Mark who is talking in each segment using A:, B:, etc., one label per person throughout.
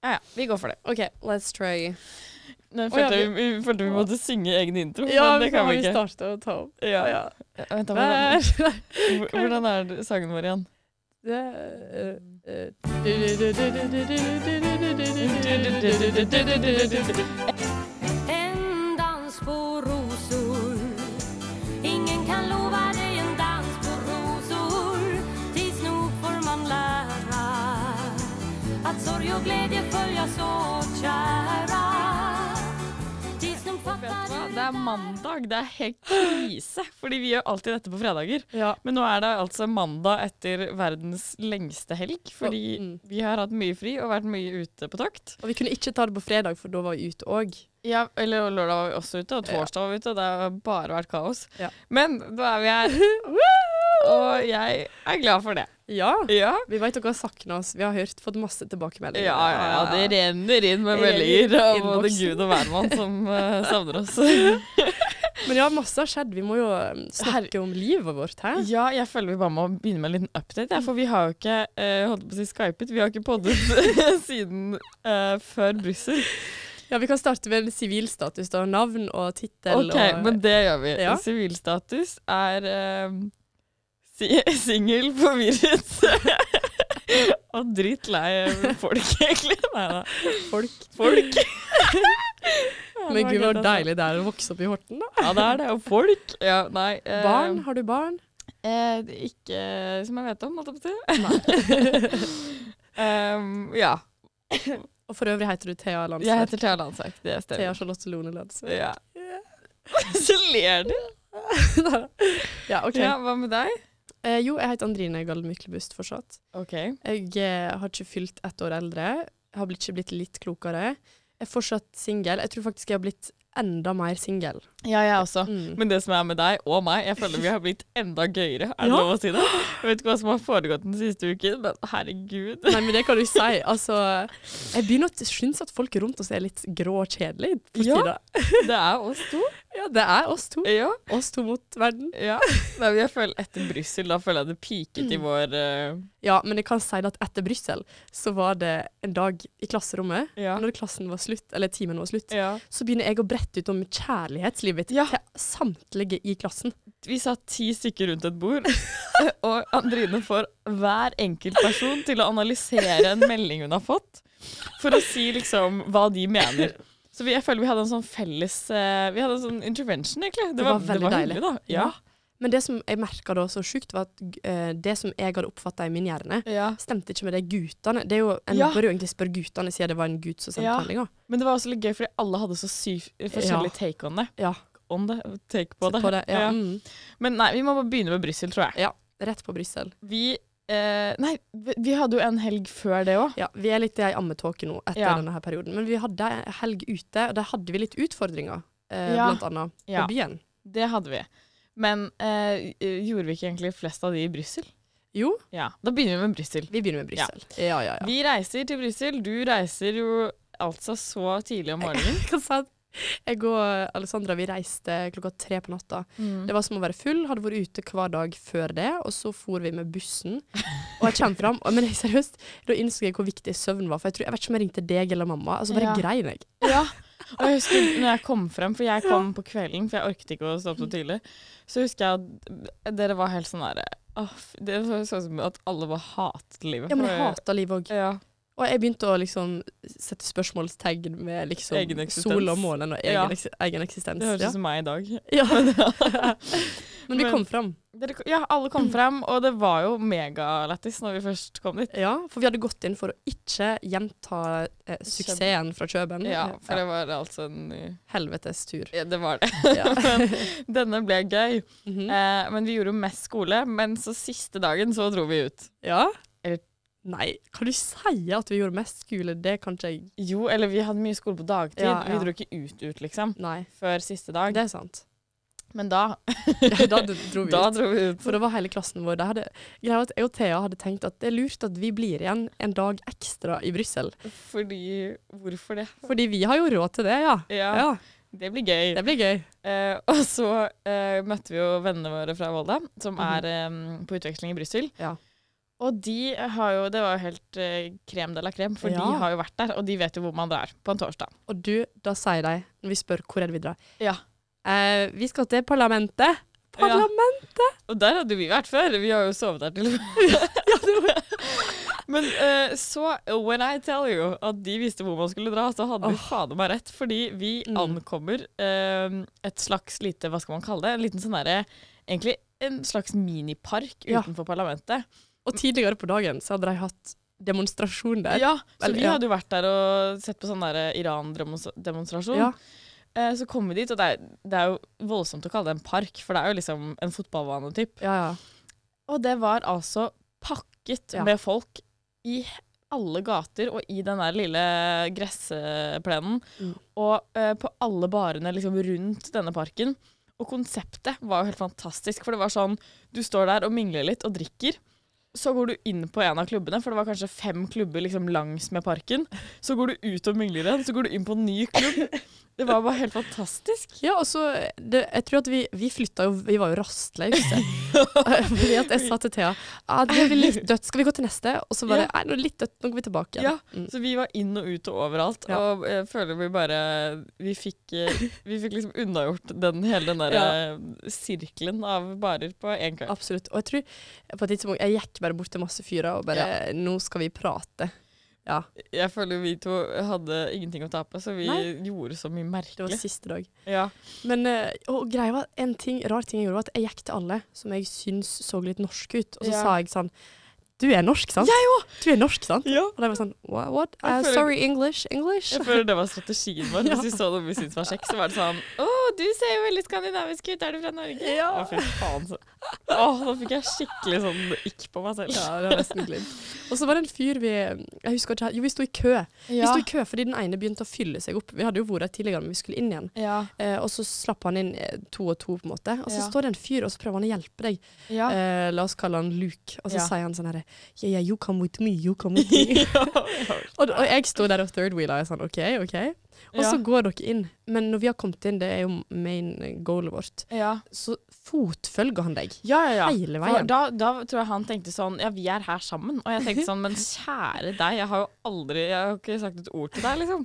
A: Ja, ja. Vi går for det. OK, let's try.
B: Nå
A: Å, ja,
B: følte jeg vi, vi, følte vi måtte synge egen intro, men det kan vi ikke.
A: starte å ta opp.
B: Ja, ja. Vent, da,
A: Vær
B: hvordan, hvor- hvordan er det- sangen vår igjen?
A: eh,
C: En dans på rosor Ingen kan lova dig en dans på rosor Tids nog får man lära Att sorg och glädje följas åt kära Tids nog fattar du
B: Det er mandag, det er helt krise, fordi vi gjør alltid dette på fredager.
A: Ja.
B: Men nå er det altså mandag etter verdens lengste helg, fordi
A: Mm.
B: vi har hatt mye fri og vært mye ute på tokt.
A: Og vi kunne ikke ta det på fredag, for da var vi ute òg.
B: Ja, eller lørdag var vi også ute, og torsdag var vi ute, og det har bare vært kaos.
A: Ja.
B: Men da er vi her, og jeg er glad for det.
A: Ja.
B: Ja,
A: Vi veit dere har sakna oss. Vi har hørt, fått masse
B: ja,
A: tilbakemeldinger.
B: ja, ja det renner inn med
A: Det renner
B: meldinger av
A: inn i
B: både
A: innboksen.
B: Gud og hvermann som eh, savner oss.
A: Men ja, masse har skjedd. Vi må jo um, snakke om livet vårt, hæ?
B: Ja, jeg føler vi bare må begynne med en liten update, ja, for vi har jo ikke eh, holdt på å si skypet, vi har ikke poddet siden eh, før Brussel.
A: Ja, Vi kan starte med en sivilstatus. da, Navn og tittel.
B: Ok,
A: og,
B: men det gjør vi.
A: Ja.
B: Sivilstatus er eh, si singel, forvirret og drittlei folk, egentlig. Nei da.
A: folk.
B: Folk.
A: Men gud,
B: altså.
A: hvor deilig det er å vokse opp i Horten, da.
B: Ja, det er det. Og folk. Ja, nei. eh,
A: Barn? Har du barn?
B: Eh, ikke som jeg vet om, holdt jeg på å si. Em, ja.
A: Og for øvrig heter du Thea
B: Jeg
A: Landsverk.
B: heter Thea Landsverk. Det
A: Thea
B: stemmer.
A: Charlotte Lone Landsverk.
B: Ja. Så ler du.
A: Ja, ok.
B: Ja, hva med deg?
A: Eh, jo, jeg heter Andrine Gall Myklebust fortsatt.
B: OK.
A: Jeg eh, har ikke fylt ett år eldre. Jeg har blitt- ikke blitt litt klokere. Jeg er fortsatt singel. Jeg tror faktisk jeg har blitt enda mer singel.
B: Ja, jeg også.
A: Mm.
B: Ah, Men det som er med deg og meg, jeg føler vi har blitt enda gøyere. Er
A: Ja.
B: det lov å si det? Jeg vet ikke hva som har foregått den siste uken, men herregud.
A: Nei, men det kan du si. Altså, jeg begynner å synes at folk rundt oss er litt grå og kjedelige for
B: Ja.
A: tida.
B: Det er oss to.
A: Ja, det er oss to.
B: Ja.
A: Oss to mot verden.
B: ja. Nei, men jeg føler etter Brussel, da føler jeg det piket i vår eh,
A: Ja, men jeg kan si det at etter Brussel så var det en dag i klasserommet,
B: Ja.
A: når klassen var slutt, eller timen var slutt,
B: ja.
A: så begynner jeg å brette ut om kjærlighetslivet
B: Ja.
A: til samtlige i klassen.
B: vi satt ti stykker rundt et bord, og Andrine får hver enkelt person til å analysere en melding hun har fått, for å si liksom hva de mener. Så vi, jeg føler vi hadde en sånn felles eh, Vi hadde en sånn intervention, egentlig. Det,
A: Det
B: var,
A: var
B: det
A: veldig
B: var
A: deilig.
B: hyggelig, da. Ja.
A: Men det som jeg merka da så sjukt, var at eh, det som jeg hadde oppfatta i min hjerne,
B: ja.
A: stemte ikke med de guttene. Det er jo, en
B: Ja.
A: bør jo egentlig spørre guttene, siden det var en gutt som sendte
B: Ja.
A: meldinga.
B: Men det var også litt gøy, fordi alle hadde så sykt forskjellig
A: Ja.
B: take on det.
A: Ja,
B: On det, take på det.
A: på det. Ja.
B: Ja.
A: Mm.
B: Men nei, vi må bare begynne med Brussel, tror jeg.
A: ja. Rett på Brussel.
B: Vi eh, Nei, vi vi hadde jo en helg før det òg.
A: Ja, vi er litt i ammetåke nå etter
B: Ja.
A: denne her perioden. Men vi hadde ei helg ute, og der hadde vi litt utfordringer, eh,
B: Ja.
A: blant annet, på
B: Ja.
A: byen.
B: Det hadde vi. Men eh, gjorde vi ikke egentlig flest av de i Brussel?
A: Jo,
B: Ja, da begynner vi med Brussel.
A: vi begynner med Brussel. Ja, ja, ja.
B: Vi reiser til Brussel. Du reiser jo altså så tidlig om morgenen.
A: Jeg kan si at jeg og Alessandra vi reiste klokka tre på natta. Det var som å være full, hadde vært ute hver dag før det, og så for vi med bussen. Og jeg kommer fram, og- men jeg- seriøst, da innså jeg hvor viktig søvn var, for jeg tror, jeg vet ikke om jeg ringte deg eller mamma, altså bare
B: Ja.
A: grein jeg.
B: Ja. Og jeg husker når jeg kom frem, for jeg kom på kvelden, for jeg orket ikke å stå opp så tidlig, så husker jeg at dere var helt sånn derre åh, f- Det så så ut som at alle bare hatet livet.
A: Ja, men jeg
B: For-
A: hater livet òg.
B: ja.
A: Og jeg begynte å liksom sette spørsmålstegn med liksom
B: Egen eksistens.
A: sol og månen og egen,
B: Ja.
A: eks- egen eksistens.
B: Det høres
A: Ja.
B: ut som meg i dag.
A: Ja. men vi
B: Men-
A: kom fram.
B: Dere, ja, alle kom frem, og det var jo megalættis når vi først kom dit.
A: Ja, for vi hadde gått inn for å ikke gjenta eh, suksessen fra Kjøben.
B: Ja, for det var altså en
A: Helvetes tur.
B: ja, Det var det.
A: Mm. Ja.
B: Men denne ble gøy.
A: Mhm.
B: Eh, men vi gjorde jo mest skole, men så siste dagen så dro vi ut.
A: Ja?
B: Eller-
A: Nei, kan du si at vi gjorde mest skole? Det kan ikke jeg
B: Jo, eller vi hadde mye skole på dagtid.
A: Ja, ja.
B: Vi dro ikke ut ut, liksom,
A: Nei,
B: før siste dag.
A: det er sant.
B: Men da,
A: da d- dro vi
B: da
A: ut.
B: dro vi ut.
A: For det var hele klassen vår. Det hadde, greia var at jeg og Thea hadde tenkt at det er lurt at vi blir igjen en dag ekstra i Brussel.
B: Fordi Hvorfor det?
A: Fordi vi har jo råd til det, ja.
B: Ja,
A: Ja,
B: det blir gøy.
A: Det blir gøy.
B: Eh, og så eh, møtte vi jo vennene våre fra Volda, som er eh, på utveksling i Brussel.
A: Mhm. Ja.
B: Og de har jo Det var jo helt eh, krem de la krem, for
A: Ja.
B: de har jo vært der, og de vet jo hvor man drar på en torsdag.
A: Og du, da sier de, når vi spør hvor er det vi drar,
B: Ja.
A: eh, vi skal til parlamentet. Parlament?
B: Og der hadde vi vært før. Vi har jo sovet der til Men eh, så, when I tell you at de visste hvor man skulle dra, så hadde vi faen meg rett. Fordi vi
A: Mm.
B: ankommer eh, et slags lite, hva skal man kalle det, en liten sånn derre Egentlig en slags minipark
A: Ja.
B: utenfor parlamentet.
A: Og tidligere på dagen så hadde de hatt demonstrasjon der.
B: Ja, Så
A: Vel,
B: vi
A: ja.
B: hadde jo vært der og sett på sånn derre Iran-demonstrasjon.
A: Ja.
B: Eh, så kom vi dit, og det er, det er jo voldsomt å kalle det en park, for det er jo liksom en fotballbane, typ.
A: Ja, ja.
B: Og det var altså pakket
A: Ja.
B: med folk i alle gater og i den der lille gressplenen.
A: Mm.
B: Og eh, på alle barene liksom rundt denne parken. Og konseptet var jo helt fantastisk, for det var sånn Du står der og mingler litt og drikker. Så går du inn på en av klubbene, for det var kanskje fem klubber liksom langs med parken. Så går du ut og mingler igjen, så går du inn på en ny klubb. Det var bare helt fantastisk.
A: Ja, og så det, Jeg tror at vi, vi flytta jo Vi var jo rastløse. Fordi at jeg sa til Thea ah, det blir litt dødt, skal vi gå til neste? Og så var det nei, nå er det litt dødt, nå går vi tilbake. igjen».
B: Ja, så vi var inn og ut og overalt,
A: Mm. Ja.
B: og jeg føler vi bare Vi fikk, eh, vi fikk liksom unnagjort den, hele den der eh, sirkelen av barer på én kveld.
A: Absolutt. Og jeg tror på et tidspunkt Jeg gikk bare bort til masse fyrer og bare Nå skal vi prate. Ja.
B: Jeg føler vi to hadde ingenting å tape, så vi
A: Nei.
B: gjorde så
A: Det
B: mye
A: var
B: merkelig.
A: siste dag.
B: Ja.
A: Men eh, og greia var en ting, rar ting jeg gjorde, var at jeg gikk til alle som jeg syns så litt norsk ut, og så
B: Ja.
A: sa jeg sånn Du er norsk, sant? Jeg òg! Du er norsk, sant?
B: ja.
A: Og de var sånn What? what?
B: Jeg
A: Eh,
B: føler-
A: sorry, English? English?
B: Jeg føler det var strategien vår.
A: Ja.
B: Hvis vi så noe vi syntes var kjekk, så var det sånn Å, du ser jo veldig skandinavisk ut, er du fra Norge?
A: Ja.
B: Å, fy faen. Så. Å, nå fikk jeg skikkelig sånn ikk på meg selv.
A: Ja, det var nesten glimt. Og så var det en fyr vi Jeg husker ikke Jo, vi sto i kø. Vi sto i kø fordi den ene begynte å fylle seg opp. Vi hadde jo vært her tidligere, men vi skulle inn igjen.
B: ja.
A: Eh, og så slapp han inn eh, to og to, på en måte. Og så
B: Ja.
A: står det en fyr, og så prøver han å hjelpe deg.
B: ja.
A: Eh, la oss kalle han Luke. Og så
B: Ja.
A: sier han sånn herre Yeah, yeah, you come with me, you come with me. og, og jeg står der og third wheeler og er sånn OK, OK. Og så
B: Ja.
A: går dere inn. Men når vi har kommet inn, det er jo main goalet vårt,
B: ja.
A: så fotfølger han deg.
B: Ja, ja, ja.
A: Hele
B: For
A: veien.
B: da, da tror jeg han tenkte sånn Ja, vi er her sammen. Og jeg tenkte sånn Men kjære deg, jeg har jo aldri Jeg har jo ikke sagt et ord til deg, liksom.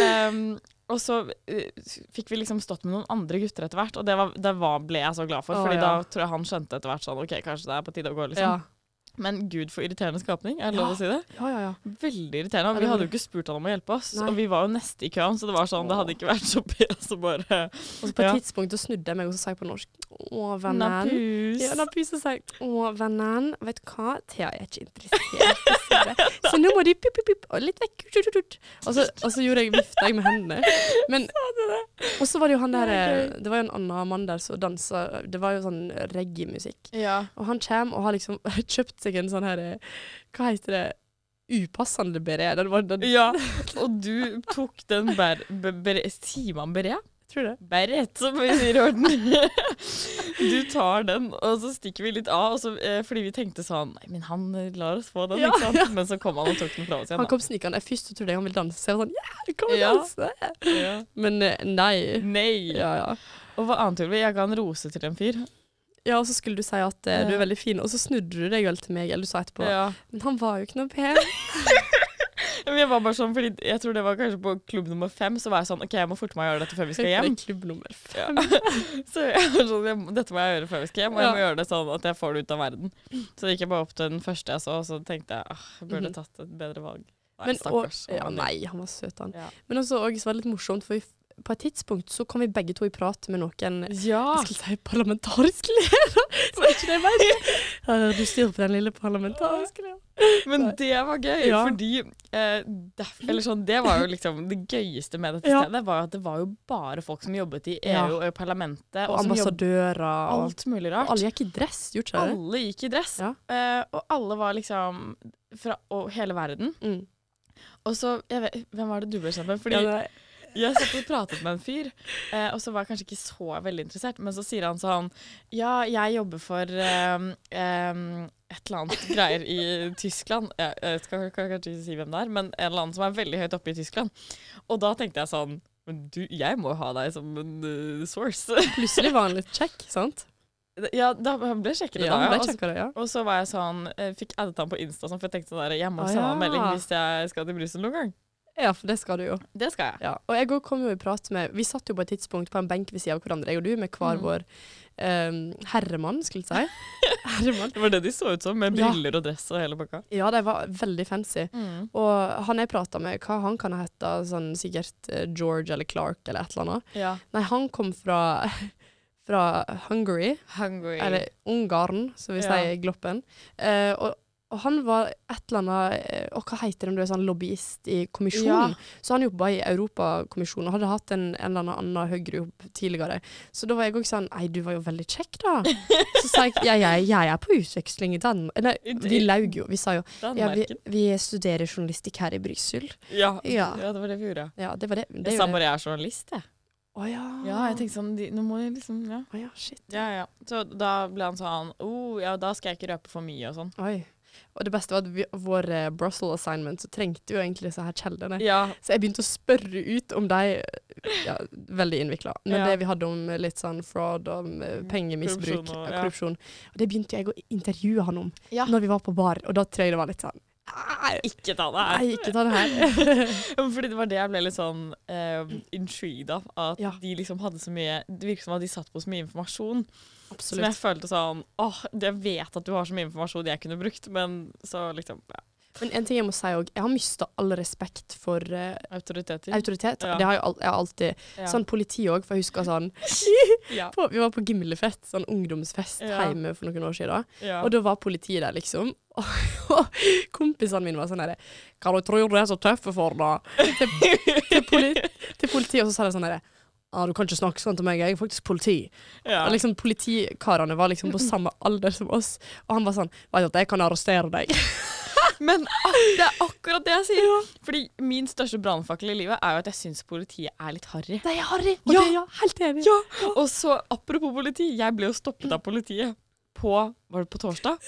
B: Ehm, og så eh, fikk vi liksom stått med noen andre gutter etter hvert, og det, var, det var, ble jeg så glad for.
A: Å,
B: Fordi
A: ja.
B: da tror jeg han skjønte etter hvert sånn OK, kanskje det er på tide å gå, liksom.
A: Ja,
B: Men gud, for irriterende skapning. Er det lov å si det?
A: ja, ja. ja.
B: Veldig irriterende.
A: Ja,
B: Og
A: det
B: vi
A: var
B: hadde jo ikke spurt han om å hjelpe oss,
A: Nei.
B: og vi var jo neste i køen, så det var sånn Det hadde ikke vært så pes å bare
A: Og så på et
B: Ja.
A: tidspunkt så snudde jeg meg og så sa jeg på norsk Å, vennen.
B: Napus.
A: Ja, da pyser jeg. Å, vennen, vet du hva? Thea er ikke interessert. dessverre. Så nå må de pip, pip, pip, og litt vekk. Tut, tut, tut. Og så, og så gjorde jeg vifta jeg med hendene. Men, og så var det jo han der eh, Det var jo en annen mann der som dansa Det var jo sånn reggae-musikk.
B: Ja.
A: Og han kommer og har liksom kjøpt seg en sånn her eh, Hva heter det? Upassende beret. Den var den,
B: Ja, og du tok den ber... be- bere- Sier man beret?
A: Tror du det?
B: Beret, som vi sier i Horten. Du tar den, og så stikker vi litt av. Og så, eh, fordi vi tenkte sånn Nei, men han eh, lar oss få den,
A: Ja,
B: ikke sant? Men så kom han og tok den fra oss igjen.
A: Han kom snikende. Først så trodde jeg han ville danse. Så jeg var sånn Ja, du kan
B: Ja.
A: danse!
B: Da. Ja.
A: Men eh, nei.
B: Nei.
A: Ja, ja.
B: Og hva annet gjorde vi? Jeg ga en rose til en fyr.
A: Ja, og så skulle du si at eh, du er
B: Ja.
A: veldig fin, og så snudde du deg vel til meg, eller du sa etterpå
B: Ja.
A: Men han var jo ikke noe pen.
B: Men jeg var bare sånn, fordi jeg tror det var kanskje på klubb nummer fem, så var jeg sånn OK, jeg må forte meg å gjøre dette før vi skal hjem.
A: Det er Klubb nummer fem.
B: Ja. Så jeg var sånn, jeg, må- dette må jeg gjøre før vi skal hjem, og jeg må
A: Ja.
B: gjøre det sånn at jeg får det ut av verden. Så gikk jeg bare opp til den første jeg så, og så tenkte jeg ah, jeg burde
A: Mhm.
B: tatt et bedre valg. Nei,
A: Men, og,
B: stakkars.
A: ja,
B: han var
A: nei, han var søt, han.
B: Ja.
A: Men også, og så var det litt morsomt, for vi, f- på et tidspunkt så kom vi begge to i prat med noen
B: litt-
A: jeg
B: Ja!
A: skulle si parlamentarisk leder, så er ikke det verst. Ja, Du styrer på den lille parlamentariske lederen.
B: Men det var gøy,
A: Ja.
B: fordi eh, derf- eller sånn, Det var jo liksom det gøyeste med dette
A: Ja.
B: stedet, var jo at det var jo bare folk som jobbet i
A: Ja.
B: EU og i parlamentet,
A: Og
B: og, som jobbet
A: ambassadører. Og,
B: alt mulig rart.
A: og alle gikk i dress, gjorde ikke det?
B: Alle gikk i dress,
A: Ja.
B: eh, og alle var liksom fra og hele verden.
A: Mm.
B: Og så, jeg vet, Hvem var det du ble kjent med? Fordi
A: Ja, nei.
B: Jeg satt og pratet med en fyr, eh, og så var jeg kanskje ikke så veldig interessert, men så sier han sånn Ja, jeg jobber for eh, eh, et eller annet greier i Tyskland. Jeg, jeg skal kanskje ikke si hvem det er, men en eller annen som er veldig høyt oppe i Tyskland. Og da tenkte jeg sånn Men du, jeg må jo ha deg som en eh, source.
A: Plutselig var han litt kjekk, sant?
B: Ja, da han ble kjekkere
A: Ja,
B: da.
A: det
B: og så-
A: kjekker det, ja.
B: Og så var jeg sånn, eh, fikk addet han på Insta, sånn, for jeg tenkte sånn der, jeg må
A: Ah,
B: sende han en
A: ja.
B: melding hvis jeg skal til Brussel noen gang.
A: Ja, for det skal du jo.
B: Det skal jeg.
A: Ja. Og jeg òg kom jo i prat med Vi satt jo på et tidspunkt på en benk ved siden av hverandre, jeg og du, med hver
B: Mm.
A: vår em, herremann, skulle jeg si. herremann.
B: Det var det de så ut som, med
A: Ja.
B: briller og dress og hele pakka.
A: Ja, de var veldig fancy.
B: Mm,
A: Og han jeg prata med, hva han kan ha hett, sånn sikkert eh, George eller Clark eller et eller annet.
B: Ja.
A: Nei, han kom fra, fra Hungary.
B: Hungry.
A: Eller Ungarn, som vi
B: Ja.
A: sier i Gloppen. Eh, og, og han var et eller annet eh, Og hva heter det om du er sånn lobbyist i kommisjonen?
B: Ja.
A: Så han jobba i Europakommisjonen og hadde hatt en, en eller annen annen høyere jobb tidligere. Så da var jeg òg sånn Nei, du var jo veldig kjekk, da. Så sa jeg jeg, jeg, jeg er på utveksling i Danmark. Nei, vi laug jo. Vi sa jo ja, vi,
B: Danmarken.
A: vi studerer journalistikk her i Brussel.
B: Ja. Ja.
A: Ja.
B: det var det vi gjorde.
A: Ja, det var det. det,
B: Jeg
A: er
B: sa
A: jo det.
B: bare jeg er journalist, jeg.
A: Å ja.
B: Ja, jeg tenkte sånn, de, nå må jeg liksom, ja.
A: Å ja, shit.
B: Ja, ja. Så da ble han sånn, oh, ja, da skal jeg ikke røpe for mye og sånn.
A: Oi. Og det beste var at vi, vår eh, Brussel assignment så trengte jo egentlig disse her kjeldene.
B: Ja,
A: Så jeg begynte å spørre ut om de ja, Veldig innvikla. Men
B: Ja. Mm.
A: det vi hadde om eh, litt sånn fraud, om eh, pengemisbruk
B: Korrupsjon og-
A: og
B: ja.
A: korrupsjon, og det begynte jeg å intervjue han om
B: Ja.
A: når vi var på bar, og da tror jeg det var litt sånn Nei,
B: ikke ta det her.
A: nei, ikke ta det her.
B: Fordi det var det jeg ble litt sånn uh, intrigued av. At
A: Ja.
B: de liksom hadde så mye Det virket som at de satt på så mye informasjon. Som jeg
A: Absolutt.
B: følte sånn Åh, jeg vet at du har så mye informasjon jeg kunne brukt, men så liksom ja,
A: Men en ting jeg må si òg, jeg har mista all respekt for eh,
B: Autoriteter.
A: autoritet.
B: Ja.
A: Det har jeg, al jeg har alltid.
B: ja.
A: Sånn politi òg, for jeg husker sånn
B: Ja.
A: på, Vi var på Gimlefest, sånn ungdomsfest
B: Ja.
A: hjemme for noen år siden.
B: Ja.
A: Og da var politiet der, liksom. Og kompisene mine var sånn herre Hva du tror du er så tøffe for, da? Til, til, poli, til politiet, og så sa de sånn herre Ah, du kan ikke snakke sånn til meg, jeg er faktisk politi.
B: ja.
A: Og liksom Politikarene var liksom på samme alder som oss, og han var sånn Veit at jeg kan arrestere deg.
B: Men ak- det er akkurat det jeg sier! Fordi min største brannfakkel i livet er jo at jeg syns politiet er litt harry.
A: Nei, Harry!
B: Ja.
A: Ja. ja, helt enig.
B: Ja, og så apropos politi, jeg ble jo stoppet av politiet på Var det på torsdag?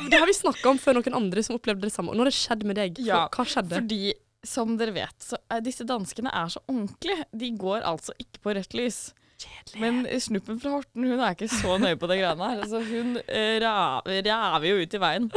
A: Det har vi snakka om før noen andre som opplevde det samme. Og nå har det skjedd med deg.
B: Ja,
A: Hva skjedde?
B: Fordi, som dere vet, så er disse danskene er så ordentlige. De går altså ikke på rødt lys.
A: Kjedelig.
B: Men snuppen fra Horten hun er ikke så nøye på det greiene her. Så hun eh, ra- raver jo ut i veien.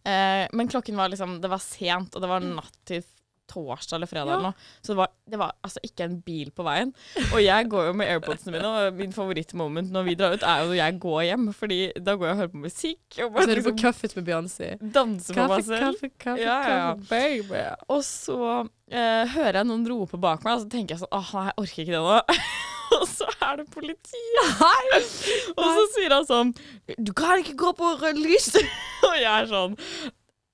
B: Eh, men klokken var liksom Det var sent, og det var natt til torsdag eller fredag. eller noe. Så det var, det var altså ikke en bil på veien. Og jeg går jo med airpodsene mine, og min favorittmoment når vi drar ut, er jo når jeg går hjem. Fordi da går jeg og hører på musikk og
A: Så er
B: bare
A: du på
B: liksom
A: cuffet med Beyoncé.
B: danser for meg
A: Kaffe,
B: selv.
A: kaffe, kaffe,
B: Ja, ja.
A: kaffe, baby.
B: Og så eh, hører jeg noen rope bak meg, og så tenker jeg sånn Åh, nei, jeg orker ikke det nå. og så er det politiet her! og så sier han sånn Du kan ikke gå på rødt lys! og jeg er sånn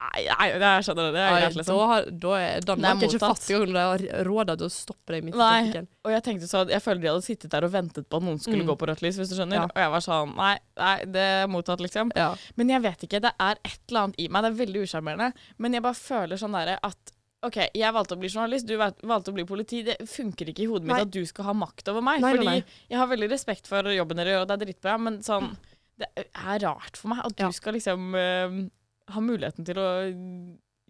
B: Nei, nei, nei, jeg skjønner det. Det er
A: Nei,
B: greit, liksom.
A: da, har- da er Danmark
B: Det er
A: ikke
B: mottatt.
A: fattig når de har råd til å stoppe deg midt i
B: Nei,
A: trafikken.
B: og jeg tenkte sånn, jeg føler de hadde sittet der og ventet på at noen skulle
A: Mm.
B: gå på rødt lys, hvis du
A: Ja.
B: skjønner. Og jeg var sånn, nei, nei, det er mottatt, liksom.
A: Ja.
B: Men jeg vet ikke, det er et eller annet i meg, det er veldig usjarmerende. Men jeg bare føler sånn derre at OK, jeg valgte å bli journalist, du val- valgte å bli politi. Det funker ikke i hodet mitt
A: Nei.
B: at du skal ha makt over meg.
A: Nei, nei,
B: fordi
A: nei.
B: jeg har veldig respekt for jobben dere gjør, og det er dritbra, men sånn Det er rart for meg at du
A: Ja.
B: skal liksom eh, ha muligheten til å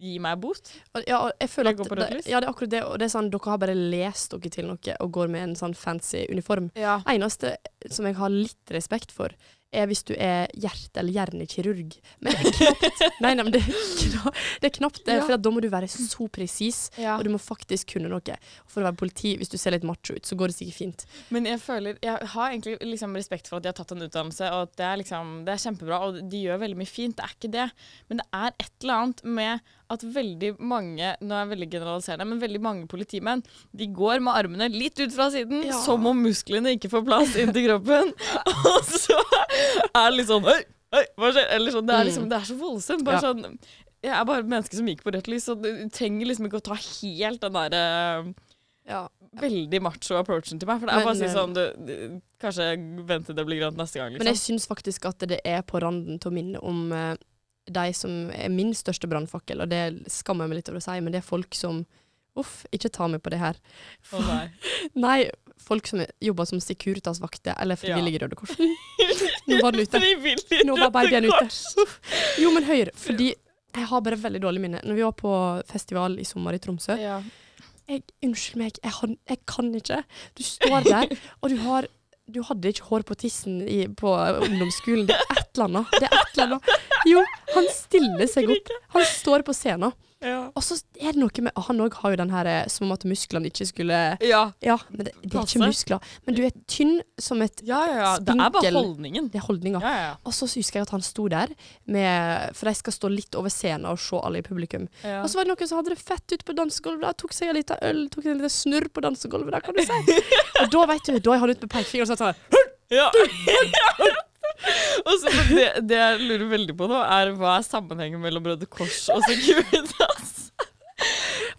B: gi meg bot.
A: Og, ja, og jeg føler
B: Jeg
A: at
B: går på rødt
A: det,
B: lys.
A: ja, det er akkurat det. Og det er sånn, dere har bare lest dere til noe og går med en sånn fancy uniform.
B: Ja.
A: eneste som jeg har litt respekt for, er hvis du er hjerte- eller hjernekirurg. Men det er knapt. Nei, nei, men det er, kna, det er knapt det,
B: Ja.
A: for at da må du være så presis.
B: Ja.
A: Og du må faktisk kunne noe. Og for å være politi, hvis du ser litt macho ut, så går det sikkert fint.
B: Men jeg føler Jeg har egentlig liksom respekt for at de har tatt en utdannelse, og at det er liksom Det er kjempebra, og de gjør veldig mye fint, det er ikke det. Men det er et eller annet med at veldig mange Nå er jeg veldig generaliserende, men veldig mange politimenn de går med armene litt ut fra siden,
A: Ja.
B: som om musklene ikke får plass inn til kroppen. og så er det litt sånn Oi, oi, hva skjer? Eller sånn, det er liksom Det er så voldsomt.
A: Mm.
B: Bare
A: Ja.
B: sånn jeg er bare et menneske som gikk på rødt lys, så du trenger liksom ikke å ta helt den eh, derre
A: Ja.
B: veldig macho approachen til meg. For det er bare å si
A: Men, eh,
B: sånn du, du, Kanskje vent til det blir grønt neste gang,
A: Men jeg
B: liksom.
A: syns faktisk at det er på randen til å minne om eh, de som er min største brannfakkel, og det skammer jeg meg litt over å si, men det er folk som Uff, ikke ta meg på det her.
B: Å, nei.
A: Nei, folk som jobber som Securitas-vakter eller frivillige Røde Kors. Nå var den ute.
B: Frivillig
A: Nå var
B: Røde
A: babyen ute.
B: Kors.
A: Jo, men hør, fordi jeg har bare veldig dårlig minne. Når vi var på festival i sommer i Tromsø
B: Ja.
A: jeg, Unnskyld meg, jeg, har- jeg kan ikke. Du står der, og du har Du hadde ikke hår på tissen i, på ungdomsskolen. Det er et eller annet. Det er et eller annet. Jo, han stiller seg opp. Han står på scenen.
B: Ja.
A: Og så er det noe med Han òg har jo den her eh, som om at musklene ikke skulle
B: Ja.
A: Ja, men det, det er
B: Passe.
A: ikke muskler. Men du er tynn som et
B: Ja, ja, ja. Det er bare
A: Spinkel.
B: holdningen.
A: Det er holdninga.
B: Ja, ja,
A: Og så husker jeg at han sto der, med, for de skal stå litt over scenen og se alle i publikum.
B: ja.
A: Og så var det noen som hadde det fett ute på dansegulvet, der, tok seg en liten øl, tok en liten snurr på dansegulvet, der, kan du si. og da vet du, da er han ute med pekefingeren og sånn her.
B: Ja. og så men det, det jeg lurer veldig på nå, er hva er sammenhengen mellom Røde Kors og Securitas?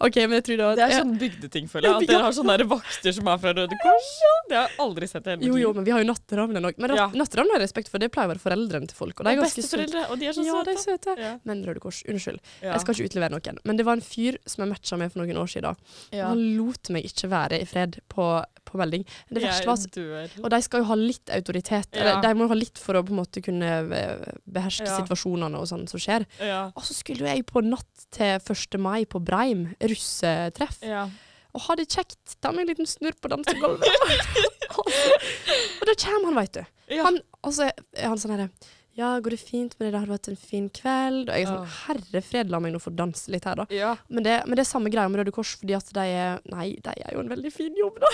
A: OK, men jeg tror da
B: Det er sånn bygdeting, føler jeg. At dere har sånne der vakter som er fra Røde Kors. Det har jeg aldri sett i hele mitt
A: Jo, jo,
B: liv.
A: men vi har jo Natteravnen òg. Men
B: Ja.
A: ja. Natteravnen har jeg respekt for, det pleier å være foreldrene til folk. Og de er
B: Og
A: ganske søte.
B: besteforeldre, og de er så
A: Ja, de er
B: søte.
A: søte.
B: Ja.
A: Men Røde Kors, unnskyld.
B: Ja.
A: Jeg skal ikke utlevere noen. Men det var en fyr som jeg matcha med for noen år siden.
B: Ja.
A: Han lot meg ikke være i fred på, på melding. Det
B: Jeg
A: verste var at
B: dør.
A: Og de skal jo ha litt autoritet.
B: Ja.
A: Eller de må jo ha litt for å på en måte kunne eh, beherske
B: Ja.
A: situasjonene og sånn som skjer.
B: Ja.
A: Og så skulle jo jeg på natt til 1. mai på Breim, russetreff,
B: Ja.
A: og ha det kjekt. Ta meg en liten snurr på dansegulvet. og så- og da kommer han, veit du.
B: Ja.
A: Han, og så er han sånn herre Ja, går det fint med deg? Det har vært en fin kveld. Og jeg er
B: Ja.
A: sånn Herre fred, la meg nå få danse litt her, da.
B: Ja.
A: Men det, men det er samme greia med Røde Kors, fordi at de er Nei, de er jo en veldig fin jobb, da.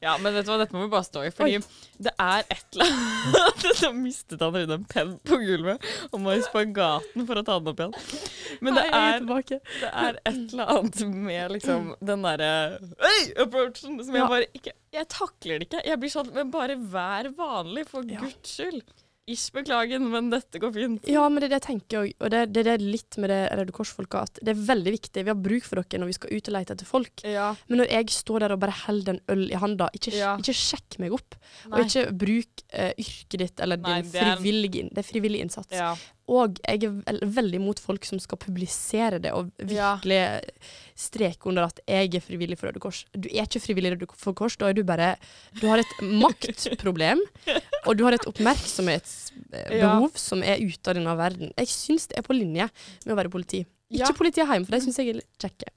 B: ja, men vet du hva, dette må vi bare stå i, fordi det er et eller annet Så mistet han Rune en penn på gulvet og må i spagaten for å ta den opp igjen. Men
A: Hei,
B: det
A: jeg
B: er
A: er tilbake.
B: Det er et eller annet med liksom den derre «Øy!» approachen som jeg
A: Ja.
B: bare ikke Jeg takler det ikke. Jeg blir sånn Men bare vær vanlig, for
A: Ja.
B: guds skyld. Ish, beklagen, men dette går fint.
A: Ja, men det er det jeg tenker òg, og det, det er det litt med det Røde Kors-folka at det er veldig viktig. Vi har bruk for dere når vi skal ut og lete etter folk.
B: Ja.
A: Men når jeg står der og bare holder en øl i handa, ikke,
B: Ja.
A: ikke sjekk meg opp.
B: Nei.
A: Og ikke bruk eh, yrket ditt eller
B: Nei,
A: din
B: det er-
A: frivillige, inn- det er frivillig innsats.
B: Ja.
A: Og jeg er vel- veldig imot folk som skal publisere det og
B: Ja.
A: virkelig streke under at jeg er frivillig for Røde Kors. Du er ikke frivillig i Røde Kors, da er du bare Du har et maktproblem, og du har et oppmerksomhetsbehov som er ute av denne verden. Jeg syns det er på linje med å være politi.
B: Ja.
A: Ikke politi er hjemme, for de syns jeg er litt kjekke.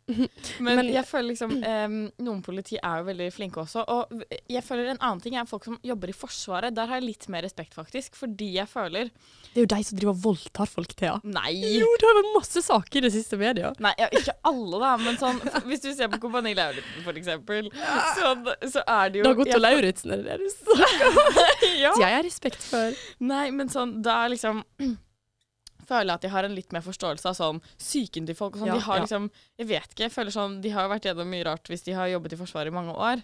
B: Men,
A: Men-
B: jeg føler liksom em, Noen politi er jo veldig flinke også. Og jeg føler en annen ting er folk som jobber i Forsvaret. Der har jeg litt mer respekt, faktisk. Fordi jeg føler
A: Det er jo de som driver og voldtar folk, Thea.
B: Nei!
A: Jo, det har vært masse saker i det siste media.
B: Nei, ja, ikke alle, da, men sånn, hvis du ser på Kompani Lauritzen, for eksempel, sånn, så er det jo
A: Dag Otto
B: jeg-
A: Lauritzen, er det det du sa?
B: Ja.
A: Jeg har respekt for.
B: Nei, men sånn, da er liksom Føler jeg at jeg har en litt mer forståelse av sånn psyken til folk. Og sånn.
A: Ja,
B: de har
A: ja.
B: liksom, jeg vet ikke, jeg føler sånn, de har jo vært gjennom mye rart hvis de har jobbet i Forsvaret i mange år.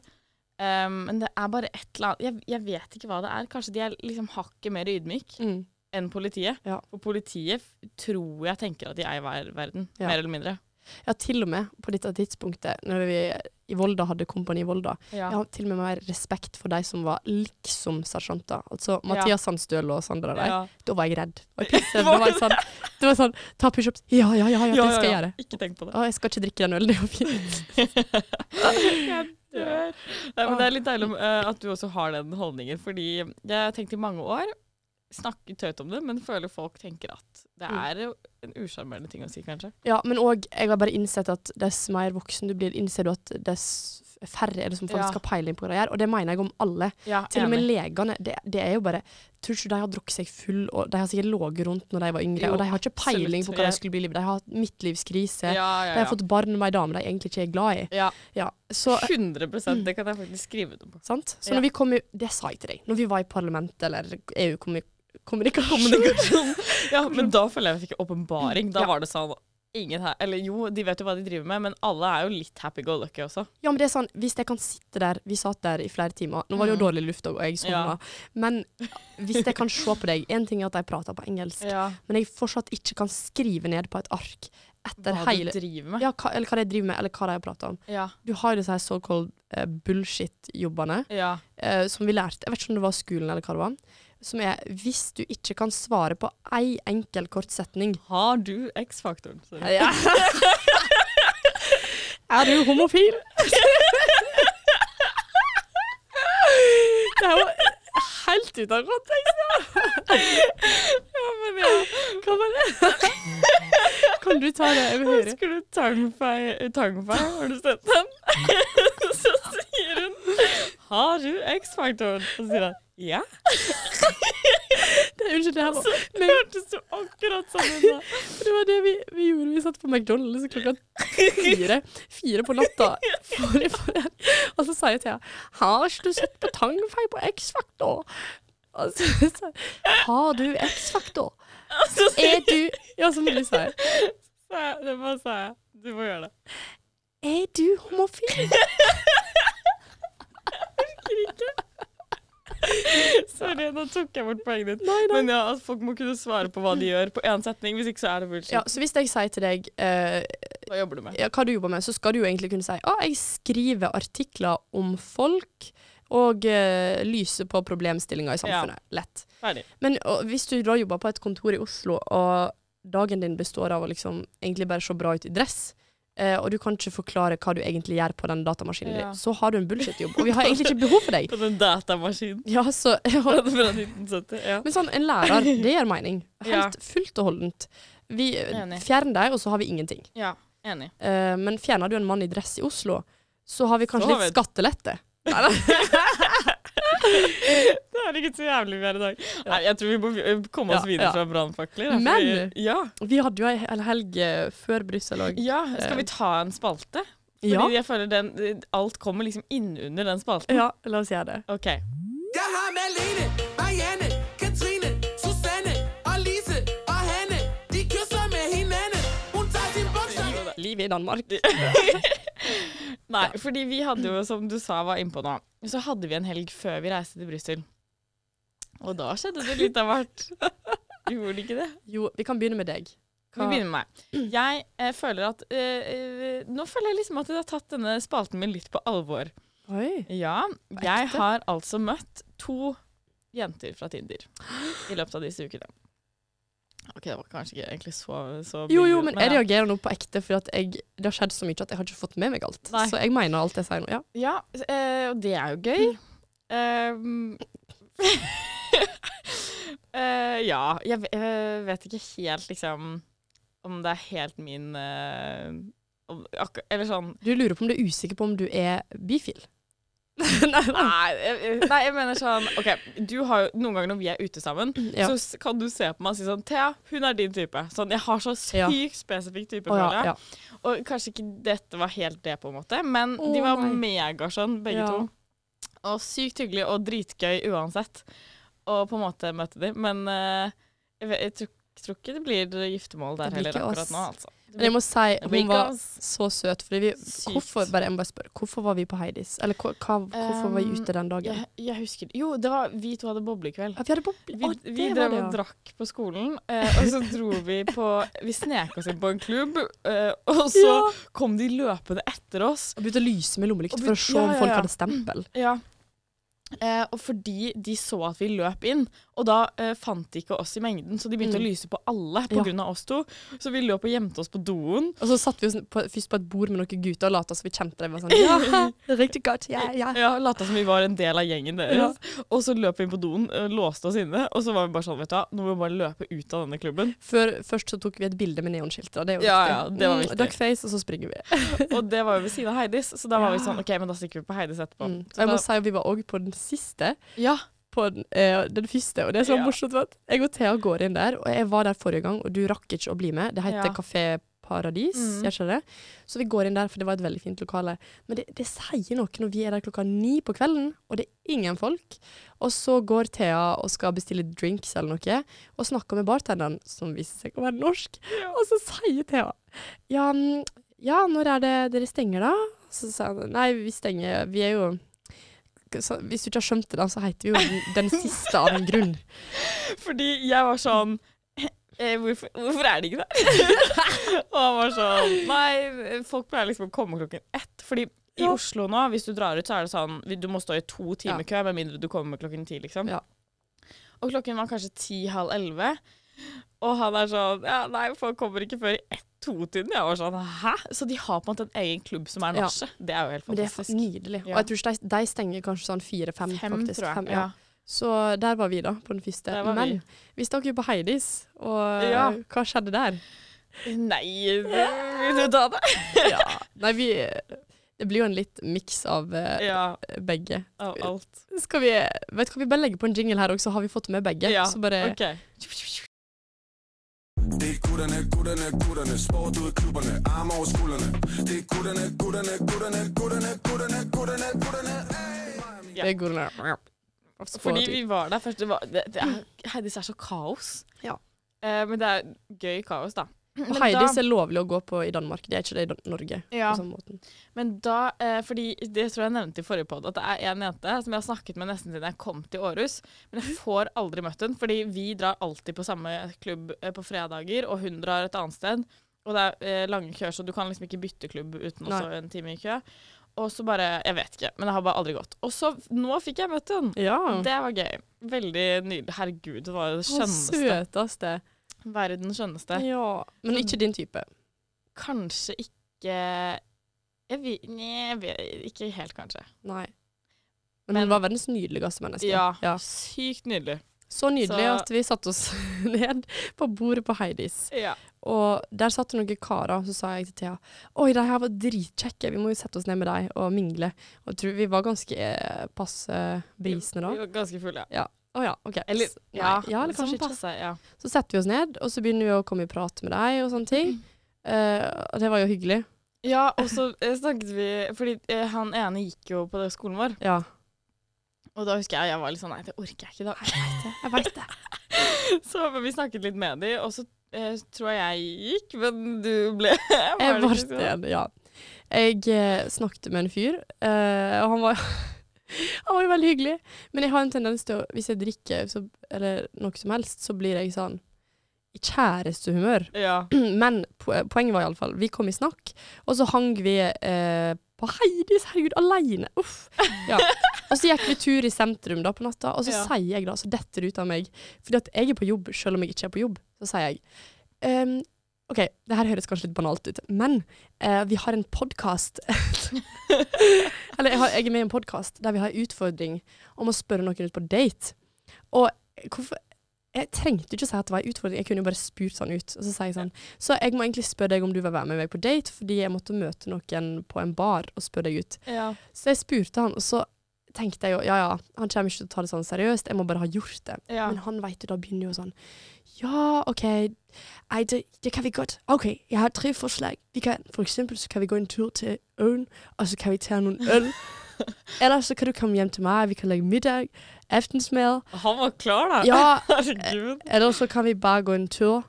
B: Um, men det er bare et eller annet jeg, jeg vet ikke hva det er. Kanskje de er liksom hakket mer ydmyk
A: Mm.
B: enn politiet.
A: Ja.
B: Og politiet f- tror jeg tenker at de er i hver verden,
A: Ja.
B: mer eller mindre.
A: Ja, til og med på dette tidspunktet, når vi i Volda hadde Kompani Volda,
B: Ja.
A: Jeg har til og med mer respekt for de som var liksom-sersjanter. Altså Mathias Sandstøl og Sandra der.
B: Ja.
A: Da var jeg redd. Og jeg pissredd. Da var jeg sånn, det var sånn Ta pushups. Ja, ja, ja, ja, det
B: Ja,
A: skal jeg
B: ja, ja.
A: gjøre.
B: Ikke tenk på det.
A: Å, jeg skal ikke drikke den ølen, det var fint.
B: Jeg dør. Nei, men det er litt deilig om, eh, at du også har den holdningen, fordi jeg har tenkt i mange år, snakket tøyt om det, men føler folk tenker at det er jo en usjarmerende ting å si, kanskje.
A: Ja, men òg, jeg har bare innsett at dess mer voksen du blir, innser du at dess færre er det som
B: Ja.
A: faktisk har peiling på hva de gjør. Og det mener jeg om alle.
B: Ja,
A: Til og med legene. Det, det er jo bare Tror ikke de har drukket seg full, og de har sikkert ligget rundt når de var yngre,
B: Jo,
A: og de har ikke peiling
B: absolutt.
A: på hva
B: Jeg-
A: de skulle bli i livet. De har hatt midtlivskrise.
B: Ja, ja,
A: De
B: ja.
A: har fått barn med ei dame de egentlig ikke er glad i.
B: ja.
A: Ja, så
B: 100 det kan jeg faktisk skrive det på.
A: Sant? Så
B: Ja.
A: når vi kom i, det sa jeg til deg, når vi var i parlamentet eller E EU-kommunikasjon
B: Ja, men da føler jeg at jeg fikk åpenbaring. Da
A: Ja.
B: var det sånn ingen her, eller Jo, de vet jo hva de driver med, men alle er jo litt happy-go-lucky også.
A: Ja, men det er sånn, hvis jeg kan sitte der Vi satt der i flere timer. Nå var det jo dårlig luft og jeg sovna.
B: Mm. Ja.
A: Men hvis jeg kan se på deg En ting er at de prater på engelsk,
B: Ja,
A: men jeg fortsatt ikke kan skrive ned på et ark etter
B: Hva
A: hele
B: du driver med.
A: ja, hva, eller hva de driver med, eller hva de har prata om.
B: Ja.
A: Du har jo disse her såkalt eh, bullshit-jobbene.
B: ja.
A: eh, som vi lærte, jeg vet ikke om det var skolen eller hva det var, som er hvis du ikke kan svare på ei enkel kort setning
B: Har du X-faktoren? Sorry.
A: ja. Er du homofil? det er jo helt ute av kontekst. ja, men ja. Hva var det? kan du ta det? Jeg vil høre.
B: Husker du tangfei, tangfei? Har du sett den? så sier hun 'Har du X-faktoren?' Og så sier han 'Ja'.
A: Det, unnskyld, det her var
B: Det hørtes jo akkurat sånn ut. da.
A: For det var det vi, vi gjorde. Vi satt på McDonald's klokka fire, fire på natta. For, for den. Og så sa jeg til henne Har ikke du sett på Tangfei på X-Faktor? Og så sa jeg Har du X-Faktor?
B: Og så
A: Er
B: sier
A: du Ja, som Lille sa. jeg,
B: sa jeg Det bare sa jeg. Du må gjøre det.
A: Er du homofil?
B: Sorry, nå tok jeg bort poenget ditt.
A: Nei, nei.
B: Men ja, at folk må kunne svare på hva de gjør på én setning. Hvis ikke så er det bullshit.
A: Ja, så hvis jeg sier til deg eh,
B: Hva jobber du med?
A: ja, hva du jobber med, så skal du jo egentlig kunne si at jeg skriver artikler om folk og eh, lyser på problemstillinger i samfunnet. Lett.
B: Ferdig.
A: Men og, hvis du da jobber på et kontor i Oslo, og dagen din består av å liksom egentlig bare se bra ut i dress, eh, og du kan ikke forklare hva du egentlig gjør på den datamaskinen
B: Ja.
A: din, så har du en bullshit-jobb, og vi har egentlig ikke behov for deg.
B: På den datamaskinen
A: Ja, så,
B: fra 1970. Ja.
A: men sånn, en lærer, det gir mening.
B: Ja.
A: Helt fullt og holdent. Vi
B: Enig.
A: fjerner deg, og så har vi ingenting.
B: ja. Enig.
A: Eh, men fjerner du en mann i dress i Oslo, så har vi kanskje
B: Så har
A: litt
B: vi-
A: skattelette.
B: Det er ikke så jævlig vi er i dag. Nei, jeg tror vi må eh, komme oss
A: Ja,
B: videre
A: ja.
B: fra brannfakler. da,
A: Men-
B: fordi- Ja.
A: Vi hadde jo ei hel- helg eh, før Brussel òg.
B: ja, skal vi ta en spalte? Fordi
A: Eh. Ja.
B: jeg føler den, alt kommer liksom innunder den spalten.
A: ja, la oss gjøre det.
B: OK.
D: Jeg har Malene, Marianne, Katrine, Susanne og Lise og Hanne. De kysser med hinanden. Hun tager sin bukser.
A: Livet i Danmark.
B: Nei, fordi vi hadde jo, som du sa var innpå nå, så hadde vi en helg før vi reiste til Brussel. Og da skjedde det litt av hvert. Gjorde det ikke det?
A: Jo, vi kan begynne med deg.
B: Vi begynner med meg. Jeg eh, føler at eh, eh, Nå føler jeg liksom at jeg har tatt denne spalten min litt på alvor.
A: Oi.
B: Ja, jeg har altså møtt to jenter fra Tinder i løpet av disse ukene. OK, det var kanskje ikke egentlig så, så
A: Jo, jo,
B: billig,
A: men jeg
B: ja.
A: reagerer nå på ekte, for at jeg, det har skjedd så mye at jeg har ikke fått med meg alt.
B: Nei.
A: Så jeg mener alt jeg sier nå. Ja.
B: Ja, eh, og det er jo gøy.
A: Mm.
B: Ehm, eh, ja, jeg ve- eh, vet ikke helt liksom om det er helt min eh, om, akkur- Eller sånn
A: Du lurer på om du er usikker på om du er bifil? nei,
B: nei, jeg- jeg- nei, jeg mener sånn OK, du har jo noen ganger når vi er ute sammen,
A: Ja.
B: så s- kan du se på meg og si sånn Thea, hun er din type. Sånn, jeg har så
A: Ja.
B: sykt spesifikk type,
A: Å,
B: føler
A: ja,
B: jeg.
A: ja.
B: Og kanskje ikke dette var helt det, på en måte, men
A: Å,
B: de var
A: nei.
B: megaskjønn, begge
A: Ja.
B: to. Og sykt hyggelig og dritgøy uansett. Og på en måte møte de. Men eh, jeg, vet, jeg tror, tror ikke det blir giftermål der
A: Det blir
B: heller
A: ikke oss.
B: akkurat nå, altså.
A: Men
B: Det
A: jeg
B: blir,
A: må si hun var
B: Because-
A: så søt. Fordi vi,
B: Sykt.
A: hvorfor, bare, jeg må bare spørre, hvorfor var vi på Heidis? Eller hva, hva, hvorfor var vi
B: Um,
A: ute den dagen?
B: jeg, jeg husker Jo, det var vi to hadde boblekveld.
A: Ja, vi hadde boble.
B: Vi,
A: Å,
B: vi
A: det var
B: drev
A: det,
B: og
A: ja.
B: drakk på skolen, eh, og så dro vi på Vi snek oss inn på en klubb, eh, og så
A: Ja.
B: kom de løpende etter oss.
A: Og begynte å lyse med lommelykt
B: Og
A: for å
B: begynte-
A: se om
B: ja, ja,
A: folk
B: ja.
A: hadde stempel.
B: Ja. Eh, og fordi de så at vi løp inn, og da eh, fant de ikke oss i mengden, så de begynte
A: Mm.
B: å lyse på alle
A: Ja.
B: pga. av oss to. Så vi løp og gjemte oss på doen.
A: Og så satt vi oss på, først på et bord med noen gutter og lot som vi kjente dem. og var Sånn, ja, riktig godt, ja, ja.
B: Ja, Lata som vi var en del av gjengen deres. Og så løp vi inn på doen, eh, låste oss inne, og så var vi bare sånn, vet du hva, nå må vi bare løpe ut av denne klubben.
A: Før, først så tok vi et bilde med neonskilt, og det er jo
B: Ja,
A: viktig.
B: ja, det var viktig.
A: Mm, duck face, og så springer vi.
B: Og det var jo ved siden av Heidis, så da var vi
A: Ja.
B: sånn OK, men da stikker vi på Heidis etterpå.
A: Mm. Og
B: Så
A: jeg må
B: da,
A: si at vi var òg på den siste,
B: ja,
A: på den, eh, den første, og det som var
B: Ja.
A: morsomt, var at jeg og Thea går inn der, og jeg var der forrige gang, og du rakk ikke å bli med. Det heter
B: Ja.
A: Kafé Paradis,
B: Mm.
A: gjør ikke det? Så vi går inn der, for det var et veldig fint lokale. Men det, det sier noe når vi er der klokka ni på kvelden, og det er ingen folk. Og så går Thea og skal bestille drinks eller noe, og snakker med bartenderen, som viser seg å være norsk. Og så sier Thea ja, mm, ja, når er det dere stenger da? Så sa han nei, vi stenger Vi er jo så, Hvis du ikke har skjønt det, da, så heter vi jo den, den siste av en grunn.
B: fordi jeg var sånn eh, hvorfor, hvorfor er de ikke der? og han var sånn Nei, folk pleier liksom å komme klokken ett. Fordi i
A: Ja.
B: Oslo nå, hvis du drar ut, så er det sånn Du må stå i to timer
A: Ja.
B: kø, med mindre du kommer klokken ti, liksom.
A: Ja.
B: Og klokken var kanskje ti-halv elleve. Og han er sånn Ja, nei, folk kommer ikke før i ett-to-tiden. Jeg var sånn Hæ? Så de har på en måte en egen klubb som er
A: Ja.
B: norske. Det er jo helt
A: Men det er fa-
B: fantastisk.
A: nydelig. Og jeg tror ikke de, de stenger kanskje sånn fire-fem,
B: Fem,
A: faktisk.
B: tror jeg.
A: Fem, ja. Så der var vi, da, på den første.
B: Der var vi.
A: Men vi stakk jo på Heidis, og
B: Ja.
A: hva skjedde der?
B: Nei, vil du ta det?
A: Nei, vi Det blir jo en litt miks av eh,
B: Ja,
A: begge.
B: av alt.
A: Skal vi, vet du hva, vi bare legger på en jingle her også, har vi fått med begge.
B: Ja,
A: Så bare
B: ok.
D: Det er gutterne, gutterne, gutterne. Sport ud i klubberne, arme over skuldrene. Det er gutterne, gutterne, gutterne, gutterne, gutterne, gutterne, gutterne. Hey.
B: Ja.
A: det går ned. Så får
B: Fordi
A: vi-
B: vi var der først. Det var, det, det er, Heidis er så kaos.
A: Ja.
B: Eh, men det er gøy kaos, da.
A: Og Heidis er lovlig å gå på i Danmark, det er ikke det i Dan- Norge.
B: Ja.
A: På samme måten.
B: sånn. Men da, eh, fordi det tror jeg jeg nevnte i forrige podd, at det er en jente som jeg har snakket med nesten siden jeg kom til Århus, men jeg får aldri møtt henne, fordi vi drar alltid på samme klubb eh, på fredager, og hun drar et annet sted, og det er eh, lange køer, så du kan liksom ikke bytte klubb uten
A: Nei.
B: også en time i kø. Og så bare, jeg vet ikke, men det har bare aldri gått. Og så, nå fikk jeg møtt henne.
A: Ja.
B: Det var gøy. Veldig nydelig. Herregud, det var det
A: Mm. Å,
B: skjønneste.
A: Søteste.
B: Verdens skjønneste.
A: Ja. Men ikke din type.
B: Kanskje ikke, jeg vet, nei, jeg vet, ikke helt kanskje.
A: Nei. Men
B: Men-
A: hun var verdens nydeligste menneske.
B: Ja, sykt nydelig.
A: Så nydelig
B: Så-
A: at vi satte oss ned på bordet på Heidis. Og der satt det noen karer, og så sa jeg til Thea Oi, de her var dritkjekke, vi må jo sette oss ned med dem og mingle. Og jeg tror vi var ganske eh, passe brisne da.
B: Vi var ganske fulle, ja.
A: Å ja, OK.
B: Eller,
A: S- nei, ja, eller kanskje ikke.
B: passe, ja.
A: Så setter vi oss ned, og så begynner vi å komme i prat med deg og sånne ting. Eh, og det var jo hyggelig.
B: Ja, og så eh, snakket vi Fordi eh, han ene gikk jo på det skolen vår,
A: Ja.
B: og da husker jeg jeg var litt sånn Nei, det orker jeg ikke i dag.
A: Jeg veit det.
B: Så men vi snakket litt med de, og så eh, tror jeg jeg gikk, men du ble var
A: Jeg
B: det
A: var
B: ikke sånn?
A: sten, ja. Jeg eh, snakket med en fyr, eh, og han var, han var jo veldig hyggelig. Men jeg har en tendens til å, hvis jeg drikker så, eller noe som helst, så blir jeg sånn i kjærestehumør.
B: Ja.
A: Men po poenget var iallfall, vi kom i snakk, og så hang vi eh, på Heidis, herregud, aleine. Uff. Ja. Og så gikk vi tur i sentrum da på natta, og så
B: Ja.
A: sier jeg da, så detter det ut av meg, fordi at jeg er på jobb, selv om jeg ikke er på jobb, så sier jeg ehm, OK, det her høres kanskje litt banalt ut, men eh, vi har en podkast Eller jeg, har, jeg er med i en podkast der vi har en utfordring om å spørre noen ut på date. Og hvorfor Jeg trengte ikke å si at det var en utfordring, jeg kunne jo bare spurt sånn ut. Og så sier jeg sånn Så jeg må egentlig spørre deg om du vil være med meg på date, fordi jeg måtte møte noen på en bar og spørre deg ut.
B: ja.
A: Så jeg spurte han, og så tenkte jeg jo, ja ja, han kommer ikke til å ta det sånn seriøst, jeg må bare ha gjort det.
B: Ja.
A: Men han vet jo, da begynner jo sånn, ja, ok, nei, det, det kan vi godt. Ok, jeg har tre forslag. Vi kan, for eksempel så kan vi gå en tur til øen, og så kan vi ta noen øl. Eller så kan du komme hjem til meg, vi kan lage middag, aftensmad.
B: Han var klar, da.
A: Ja,
B: Herregud.
A: eller så kan vi bare gå en tur.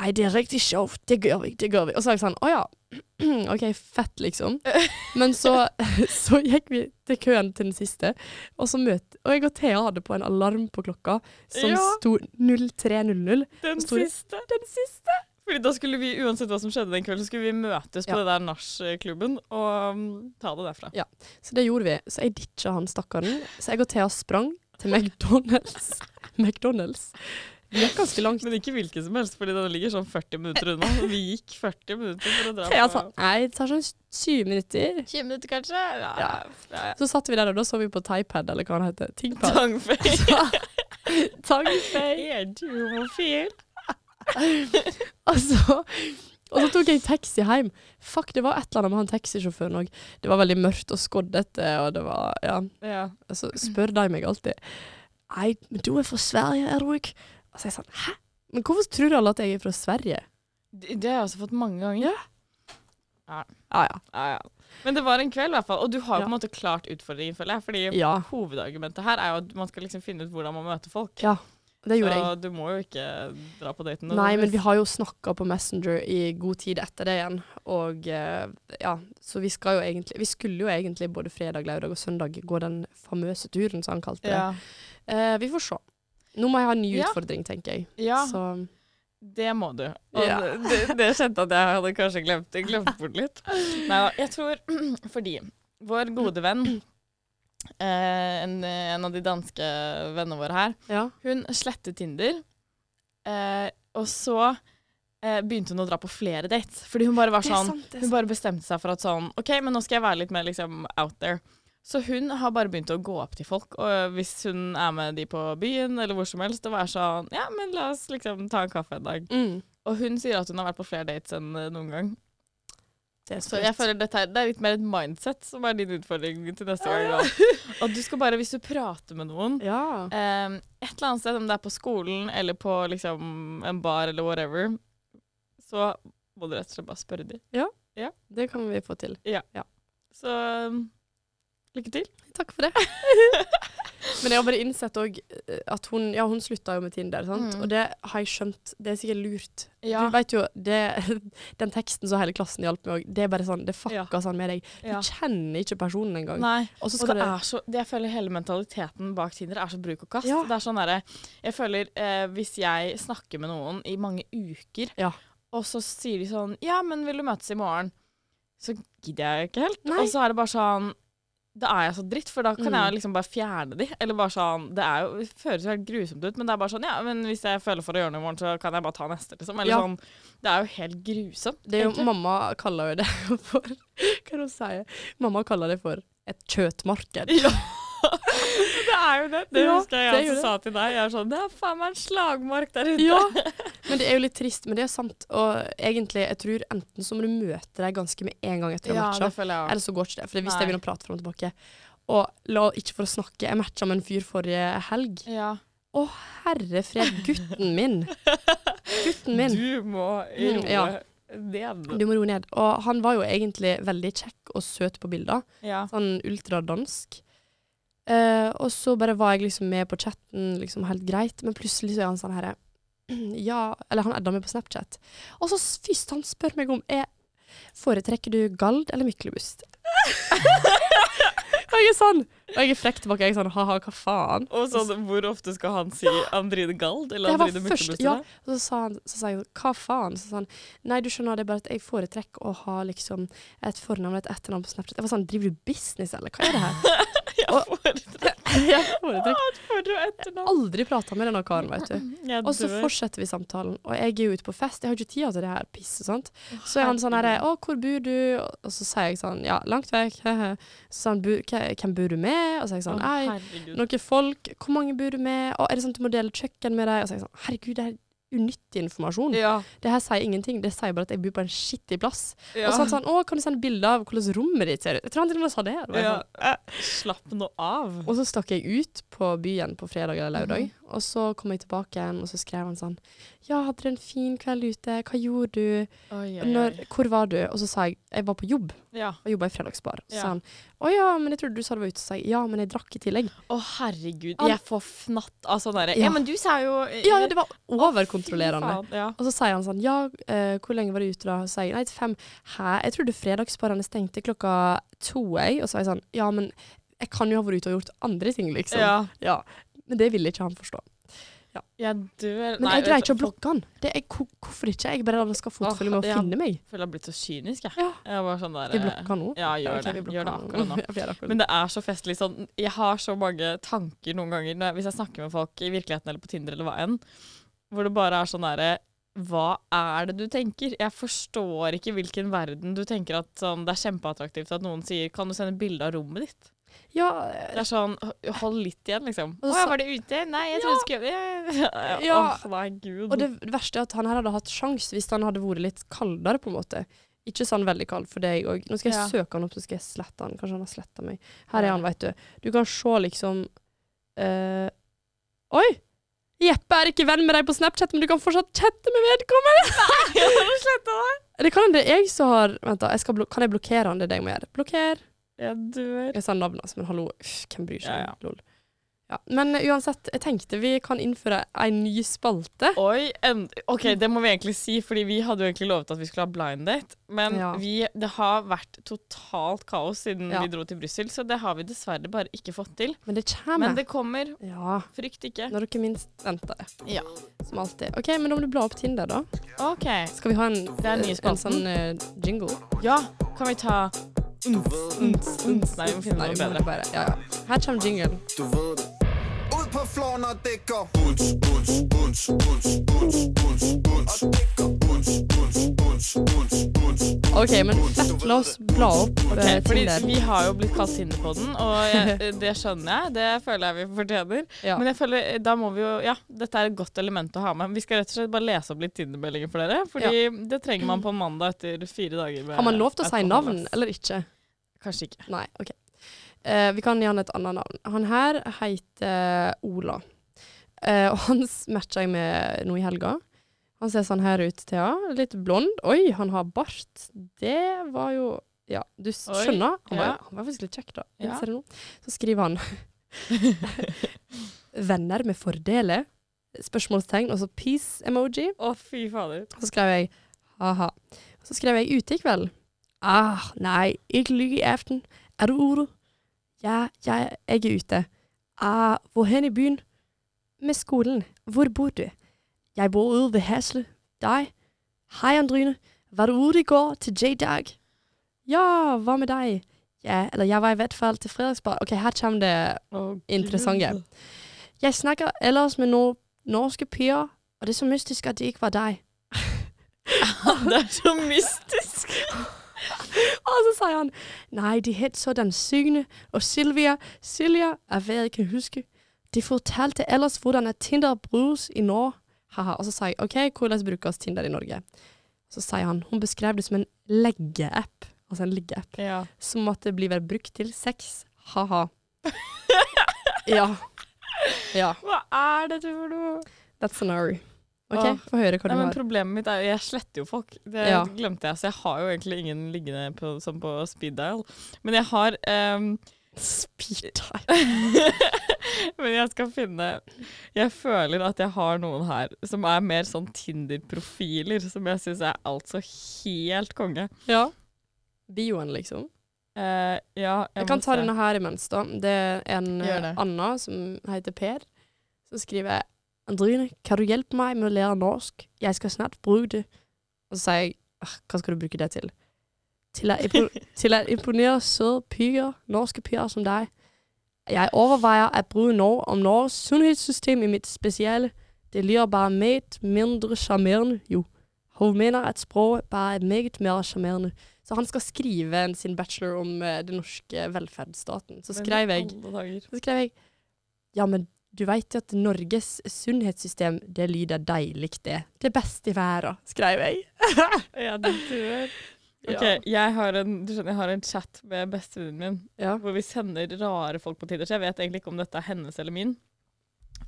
A: Nei, det er riktig sjovt. Det gjør vi. det gjør vi. Og så er jeg sånn, å ja. OK, fett, liksom. Men så, så gikk vi til køen til den siste, og så møt, og jeg og Thea hadde på en alarm på klokka som
B: Ja.
A: sto 03.00.
B: Den
A: Store-
B: siste. Den siste. Fordi da skulle vi, uansett hva som skjedde den kvelden, så skulle vi møtes på
A: Ja.
B: det der nachklubben og mm, ta det derfra.
A: Så det gjorde vi. Så jeg ditcha han stakkaren. Så jeg og Thea sprang til McDonald's. McDonald's. Vi gikk ganske langt.
B: Men ikke hvilken som helst, fordi den ligger sånn 40 minutter unna. Vi gikk 40 minutter for å dra
A: Thea sa nei, det tar sånn syv minutter.
B: 20 minutter, kanskje? Ja. ja.
A: Ja.
B: ja.
A: Så satt vi der, og da så vi på Typad, eller hva han heter. Tingpad.
B: Tangfeil.
A: Tangfeil.
B: Er du homofil?
A: Altså, og så tok jeg taxi hjem. Fuck, det var et eller annet med han taxisjåføren òg. Det var veldig mørkt og skoddete, og det var Ja.
B: Ja.
A: Så spør de meg alltid. Nei, men du er fra Sverige, er du ikke? Og så er jeg sånn Hæ? Men hvorfor tror alle at jeg er fra Sverige?
B: Det, det har jeg også fått mange ganger.
A: Ja, ja.
B: Ja, ja. Men det var en kveld, i hvert fall. Og du har jo
A: Ja.
B: på en måte klart utfordringen, føler jeg. Fordi
A: Ja,
B: hovedargumentet her er jo at man skal liksom finne ut hvordan man møter folk.
A: ja det gjorde jeg.
B: Så du må jo ikke dra på daten.
A: Nei, men vi har jo snakka på Messenger i god tid etter det igjen, og eh, ja, så vi skal jo egentlig Vi skulle jo egentlig både fredag, lørdag og søndag gå den famøse turen, som han kalte det.
B: ja.
A: Eh, vi får se. Nå må jeg ha en ny
B: Ja.
A: utfordring, tenker jeg.
B: ja,
A: Så,
B: det må du. Og
A: Ja.
B: det, det kjente jeg at jeg hadde kanskje glemt, glemt bort litt. Nei, da, jeg tror fordi vår gode venn, eh, en, en av de danske vennene våre her,
A: ja.
B: Hun slettet Tinder, eh, og så eh, begynte hun å dra på flere dates. Fordi hun bare var sånn Hun bare bestemte seg for at sånn OK, men nå skal jeg være litt mer liksom out there. Så hun har bare begynt å gå opp til folk, og øh, hvis hun er med de på byen eller hvor som helst, og være sånn Ja, men la oss liksom ta en kaffe en dag.
A: Mm.
B: Og hun sier at hun har vært på flere dates enn eh, noen gang.
A: Det er
B: øh, Så jeg føler dette er, Det er litt mer et mindset som er din utfordring til neste gang. da. At du skal bare, hvis du prater med noen
A: Ja.
B: eh, Et eller annet sted, om det er på skolen eller på liksom, en bar eller whatever, så må du rett og slett bare spørre dem.
A: Det kan vi få til.
B: Så eh, lykke til.
A: Takk for det. Men jeg har bare innsett òg at hun Ja, hun slutta jo med Tinder, sant?
B: Mm.
A: og det har jeg skjønt. Det er sikkert lurt.
B: Ja.
A: Du vet jo, det, Den teksten som hele klassen hjalp meg òg, det er bare sånn Det fucka
B: Ja.
A: sånn med deg. Du
B: Ja.
A: kjenner ikke personen engang.
B: Nei.
A: Og så
B: Og
A: skal
B: det
A: det
B: er så, det- jeg føler hele mentaliteten bak Tinder er så bruk og kast.
A: Ja.
B: Det er sånn derre- jeg føler eh, Hvis jeg snakker med noen i mange uker,
A: Ja.
B: og så sier de sånn 'Ja, men vil du møtes i morgen?' Så gidder jeg ikke helt.
A: Nei.
B: Og så er det bare sånn Da er jeg så dritt, for da kan
A: Mm.
B: jeg liksom bare fjerne de. Eller bare sånn Det er jo, det føles jo helt grusomt ut, men det er bare sånn 'Ja, men hvis jeg føler for å gjøre noe i morgen, så kan jeg bare ta neste', liksom. Eller
A: Ja.
B: sånn Det er jo helt grusomt.
A: Det er jo,
B: egentlig.
A: mamma kaller jo det for Hva er det hun sier? Mamma kaller det for et kjøttmarked.
B: Ja. Det er jo det. Det
A: Ja,
B: husker jeg
A: det er
B: jeg
A: jo
B: også sa til deg. Jeg er sånn, Det er faen meg en slagmark der ute.
A: Ja. Men det er jo litt trist, men det er sant. Og egentlig, jeg tror enten så må du møte deg ganske med en gang etter å ha
B: Ja,
A: matcha,
B: det føler jeg òg.
A: eller så går ikke det. For hvis
B: Nei.
A: jeg begynner å prate fram og tilbake Og la ikke for å snakke, jeg matcha med en fyr forrige helg.
B: Ja.
A: Å, herre fred, gutten min! Gutten min.
B: Du må
A: Mm,
B: roe
A: ja.
B: ned.
A: Du må roe ned. Og han var jo egentlig veldig kjekk og søt på bilder.
B: Ja.
A: sånn ultradansk. Eh, og så bare var jeg liksom med på chatten, liksom helt greit, men plutselig så er han sånn herre Ja, eller han adda meg på Snapchat. Og så s- først han spør meg om jeg foretrekker du Gald eller Myklebust. og jeg er sånn, og jeg er frekk tilbake. Jeg er sånn ha-ha, hva faen?
B: Og sånn, hvor ofte skal han si Andrine Gald eller
A: Det var
B: Andrine
A: først,
B: Myklebust?
A: ja. Og så sa, han, så sa jeg hva faen? Så sa han nei, du skjønner det er bare at jeg foretrekker å ha liksom et fornavn og et etternavn på Snapchat. Jeg var sånn, driver du business, eller hva er det her?
B: Jeg foretrekker
A: jeg foretrekker
B: for- og etternavn.
A: aldri prata med denne karen, vet du.
B: Jeg
A: Og så
B: dør.
A: fortsetter vi samtalen, og jeg er jo ute på fest, jeg har ikke tid til det her pisset, sant. Så er han sånn herre, å, hvor bor du? Og så sier jeg sånn, ja, langt vekk, hehe. Så sier han, «Bu- hva- hvem bor du med? Og så er jeg
B: Å,
A: sånn, ei,
B: herregud.
A: noen folk, hvor mange bor du med? Og er det sånn at du må dele kjøkken med deg? Og så er jeg sånn, herregud, det er unyttig informasjon.
B: Ja.
A: Det her sier ingenting, det sier bare at jeg bor på en skittig plass.
B: ja.
A: Og så er han sånn, å, kan du sende bilder av hvordan rommet ditt ser ut? Jeg tror han til og med sa det. Det var
B: ja.
A: sånn,
B: Eh, Slapp nå av.
A: og så stakk jeg ut på byen på fredag eller lørdag, og så kom jeg tilbake igjen, og så skrev han sånn Ja, hadde du en fin kveld ute? Hva gjorde du?
B: Oi, oi, oi.
A: Når, hvor var du? Og så sa jeg jeg var på jobb,
B: Ja.
A: og jobba i fredagsbar. Så
B: Ja.
A: sa han å ja, men jeg trodde du sa du var ute, så sa jeg ja, men jeg drakk i tillegg.
B: Å, herregud.
A: Al-
B: Jeg får fnatt av sånn derre
A: Ja.
B: Ja, men du sa jo
A: Ja, det var
B: Fy
A: overkontrollerende.
B: faen, Ja.
A: Og så sier han sånn ja, eh, hvor lenge var du ute da? Og så sier jeg nei, til fem. Hæ, jeg trodde fredagsbarene stengte klokka to, jeg. Og så var jeg sånn ja, men jeg kan jo ha vært ute og gjort andre ting, liksom.
B: ja.
A: ja. Men det ville ikke han forstå.
B: Jeg dør.
A: Men jeg greier ikke å blokke han. Det er, hvor- hvorfor ikke? Jeg bare skal fotfølge med å
B: Åh, ja.
A: finne meg.
B: Jeg føler jeg har blitt så kynisk, jeg.
A: Ja.
B: Jeg var sånn der,
A: Skal jeg blokke han nå?
B: Ja, gjør
A: Ok, vi
B: det.
A: blokker
B: Gjør det
A: han
B: akkurat nå.
A: Ja, vi gjør akkurat
B: Men
A: nå.
B: det er så festlig sånn Jeg har så mange tanker noen ganger når jeg, hvis jeg snakker med folk i virkeligheten eller på Tinder eller hva enn, hvor det bare er sånn derre hva er det du tenker? Jeg forstår ikke hvilken verden du tenker at sånn, det er kjempeattraktivt at noen sier 'kan du sende bilde av rommet ditt'? Det
A: Ja,
B: er sånn h- hold litt igjen, liksom.
A: Og så
B: 'Å ja,
A: sa-
B: var det ute? Nei, jeg trodde du skulle gjøre det'.
A: Ja.
B: Åh, nei, gud.
A: og det verste er at han her hadde hatt sjans hvis han hadde vært litt kaldere, på en måte. Ikke sånn veldig kald for deg òg. Nå skal jeg søke han opp, så skal jeg slette han. Kanskje han har sletta meg. Her er han, veit du. Du kan se liksom eh, Oi! Jeppe er ikke venn med deg på Snapchat, men du kan fortsatt chatte med vedkommende!
B: jeg sletta det.
A: Eller kan det er jeg som har Vent, da. Jeg skal blok- kan jeg blokkere han? Det er det jeg må gjøre. Blokker.
B: Jeg dør.
A: Jeg sa navnet hans, men hallo, uff, hvem bryr seg?
B: Ja,
A: Ja, Lol. Ja. Men eh, uansett, jeg tenkte vi kan innføre en ny spalte.
B: Oi, en, ok, det må vi egentlig si, fordi vi hadde jo egentlig lovet at vi skulle ha blind date, men
A: Ja.
B: vi, det har vært totalt kaos siden
A: Ja.
B: vi dro til Brussel, så det har vi dessverre bare ikke fått til.
A: Men det
B: Men
A: kommer.
B: det kommer,
A: Ja,
B: frykt ikke.
A: når dere minst venter det.
B: Ja.
A: Som alltid. OK, men da må du bla opp Tinder, da.
B: Ok,
A: Skal vi ha en,
B: er den nye
A: en
B: spalten.
A: sånn eh, jingle?
B: ja, kan vi ta uns, uns, uns. Nei, vi må finne
A: Nei,
B: noe
A: vi må
B: bedre.
A: bare, ja, ja. Her kommer jinglen.
D: Du ved det. Ud
E: på floren og dækker Bunds, bunds, bunds, bunds, bunds, bunds, bunds Og dækker Bunds, bunds, bunds, bunds, bunds, bunds
A: OK, men fett, la oss bla opp okay,
B: Ok, fordi
A: Tinder.
B: vi har jo blitt kalt Tinder på den, og jeg, det skjønner jeg. Det føler jeg vi fortjener.
A: Ja.
B: Men jeg føler, eh, da må vi jo, ja, dette er et godt element å ha med. Vi skal rett og slett bare lese opp litt Tinder-meldinger for dere. Fordi det trenger man på en mandag etter fire dager med
A: Har man lov til å si
B: alkohol,
A: navn
B: ass.
A: eller ikke?
B: Kanskje ikke.
A: Nei, OK. Eh, vi kan gi han et annet navn. Han her heter Ola. Eh, og han s- matcha jeg med nå i helga. Han ser sånn her ut, Thea. Litt blond. Oi, han har bart. Det var jo Ja, du s-
B: Oi,
A: skjønner? Han var,
B: ja.
A: han var faktisk litt kjekk, da.
B: Ja.
A: Innser det nå. Så skriver han Venner med fordeler? Spørsmålstegn. Og så peace-emoji.
B: Å, fy fader.
A: Og så skrev jeg ha-ha. Og så skrev jeg ute i kveld. Ah, nei, ikke lykke i aften. Er du ute? Ja, jeg, jeg er ute. Ah, hvor hen i byen? Med skolen. Hvor bor du? Jeg bor ude ved Hasle. Deg? Hei, Andryne. Var du ute i går til J-Dag? Ja, hva med deg? Ja, eller jeg var i hvert fall til fredagsbar. Ok, her kommer det
B: Å,
A: Interessant, ja.
B: Gud.
A: jeg snakker ellers med no norske piger, og det er så mystisk at det ikke var deg.
B: Det er så mystisk.
A: Og så sier han Nei, de het sådan Sygne og Silvia. Silja er hva jeg kan huske. De fortalte ellers hvordan at Tinder brukes i Norge. Haha. Og så sier jeg OK, hvordan brukes Tinder i Norge? Så sier han Hun beskrev det som en leggeapp. Altså en liggeapp.
B: Ja.
A: Som måtte bli vel brukt til sex. Ha-ha. ja. Ja.
B: Hva er dette for noe?
A: That's an R.
B: Åh.
A: OK, få høre hva
B: Nei,
A: du
B: men
A: har.
B: Problemet mitt er jo jeg sletter jo folk. Det
A: Ja.
B: glemte jeg, så jeg har jo egentlig ingen liggende på, som på speed dial. Men jeg har ehm,
A: Speed dial.
B: Men jeg skal finne Jeg føler at jeg har noen her som er mer sånn Tinder-profiler, som jeg syns er altså helt konge.
A: Ja. Bioen, liksom.
B: Eh, ja, jeg,
A: Jeg kan
B: må
A: ta
B: se.
A: denne her imens, da. Det er en
B: Gjør det.
A: eh, Anna som heter Per. Så skriver jeg Andrine, kan du hjelpe meg med å lære norsk? Jeg skal snart bruke det. Og så sier jeg «Ah, hva skal du bruke det til? Til å, impo til å imponere søte piger, norske piger som deg. Jeg overveier å bruke noe om Norges sunnhetssystem i mitt spesiale. Det lyder bare meget mindre sjarmerende, jo. Hun mener at språket bare er meget mer sjarmerende. Så han skal skrive en- sin bachelor om eh, den norske velferdsstaten. Så
B: Men
A: skrev jeg
B: alle dager.
A: så skrev jeg Ja, men du veit jo at Norges sunnhetssystem, det lyder deilig, det. Det beste i verden, skrev jeg.
B: Ja, du tror. Ok, jeg har en, du skjønner, jeg har en chat med bestevennen min.
A: Ja.
B: hvor vi sender rare folk på Tinder. Så jeg vet egentlig ikke om dette er hennes eller min.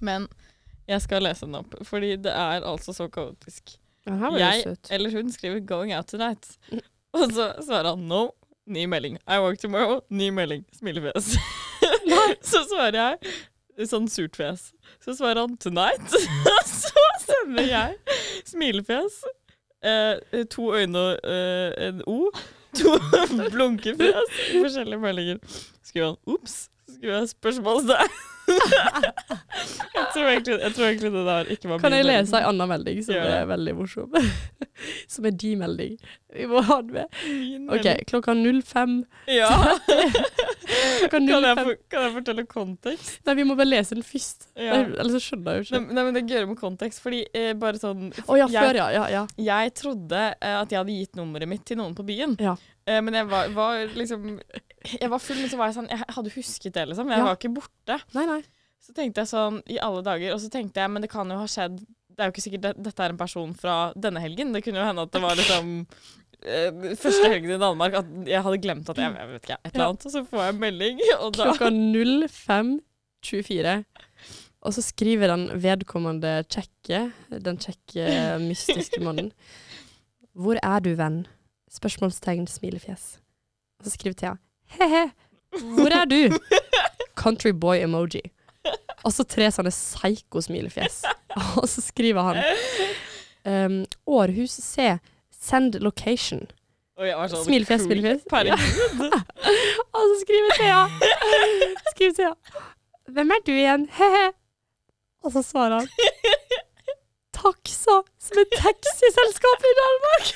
B: Men jeg skal lese den opp, fordi det er altså så kaotisk.
A: Men her var det
B: Jeg
A: søt.
B: eller hun skriver 'going out tonight', og så svarer han 'no'. Ny melding. 'I work tomorrow'. Ny melding. Smilefjes. så svarer jeg sånn surt fjes. Så svarer han 'tonight'. Og så sender jeg smilefjes. Eh, to øyne og eh, en O. To blunkefjes. Forskjellige meldinger. Skriver han 'ops'? Skriver jeg spørsmålstegn? jeg, tror egentlig, jeg tror egentlig det der ikke var
A: Kan
B: min
A: jeg
B: melding.
A: lese ei anna melding som
B: Gjør det.
A: er veldig morsom? som er din melding. Vi må ha den med.
B: Min
A: OK,
B: melding.
A: klokka 05.
B: Ja.
A: Klokka
B: Kan jeg,
A: 05.
B: for, kan jeg fortelle kontekst?
A: Nei, vi må bare lese den først.
B: Ja.
A: Nei, Ellers så skjønner jeg jo
B: Nei,
A: ikke.
B: nei, men det gjør med kontekst, fordi eh, bare sånn
A: Å ja,
B: jeg,
A: før, ja. Ja, ja.
B: jeg trodde eh, at jeg hadde gitt nummeret mitt til noen på byen,
A: Ja.
B: eh, men jeg var, var liksom Jeg var full, men så var jeg sånn Jeg hadde husket det, liksom. Jeg
A: Ja.
B: var ikke borte.
A: Nei, nei.
B: Så tenkte jeg sånn i alle dager, og så tenkte jeg, men det kan jo ha skjedd Det er jo ikke sikkert det, dette er en person fra denne helgen. Det kunne jo hende at det var liksom eh, Første helgen i Danmark at jeg hadde glemt at jeg, jeg vet ikke, et eller
A: Ja.
B: annet. Og så får jeg en melding, og da
A: Klokka 05.24. Og så skriver den vedkommende tjekke, den tjekke mystiske mannen. Hvor er du, venn? Spørsmålstegn, smilefjes. Og så skriver Thea. He-he, hvor er du? Countryboy-emoji. Og så tre sånne psyko-smilefjes. Og så skriver han. Um, Århus C. Send location.
B: og jeg var sånn,
A: Smilefjes,
B: cool.
A: smilefjes.
B: Perle.
A: Og så skriver Thea. Skriver Thea. Hvem er du igjen? He-he. Og så svarer han. Taxa, som er taxiselskapet i Danmark.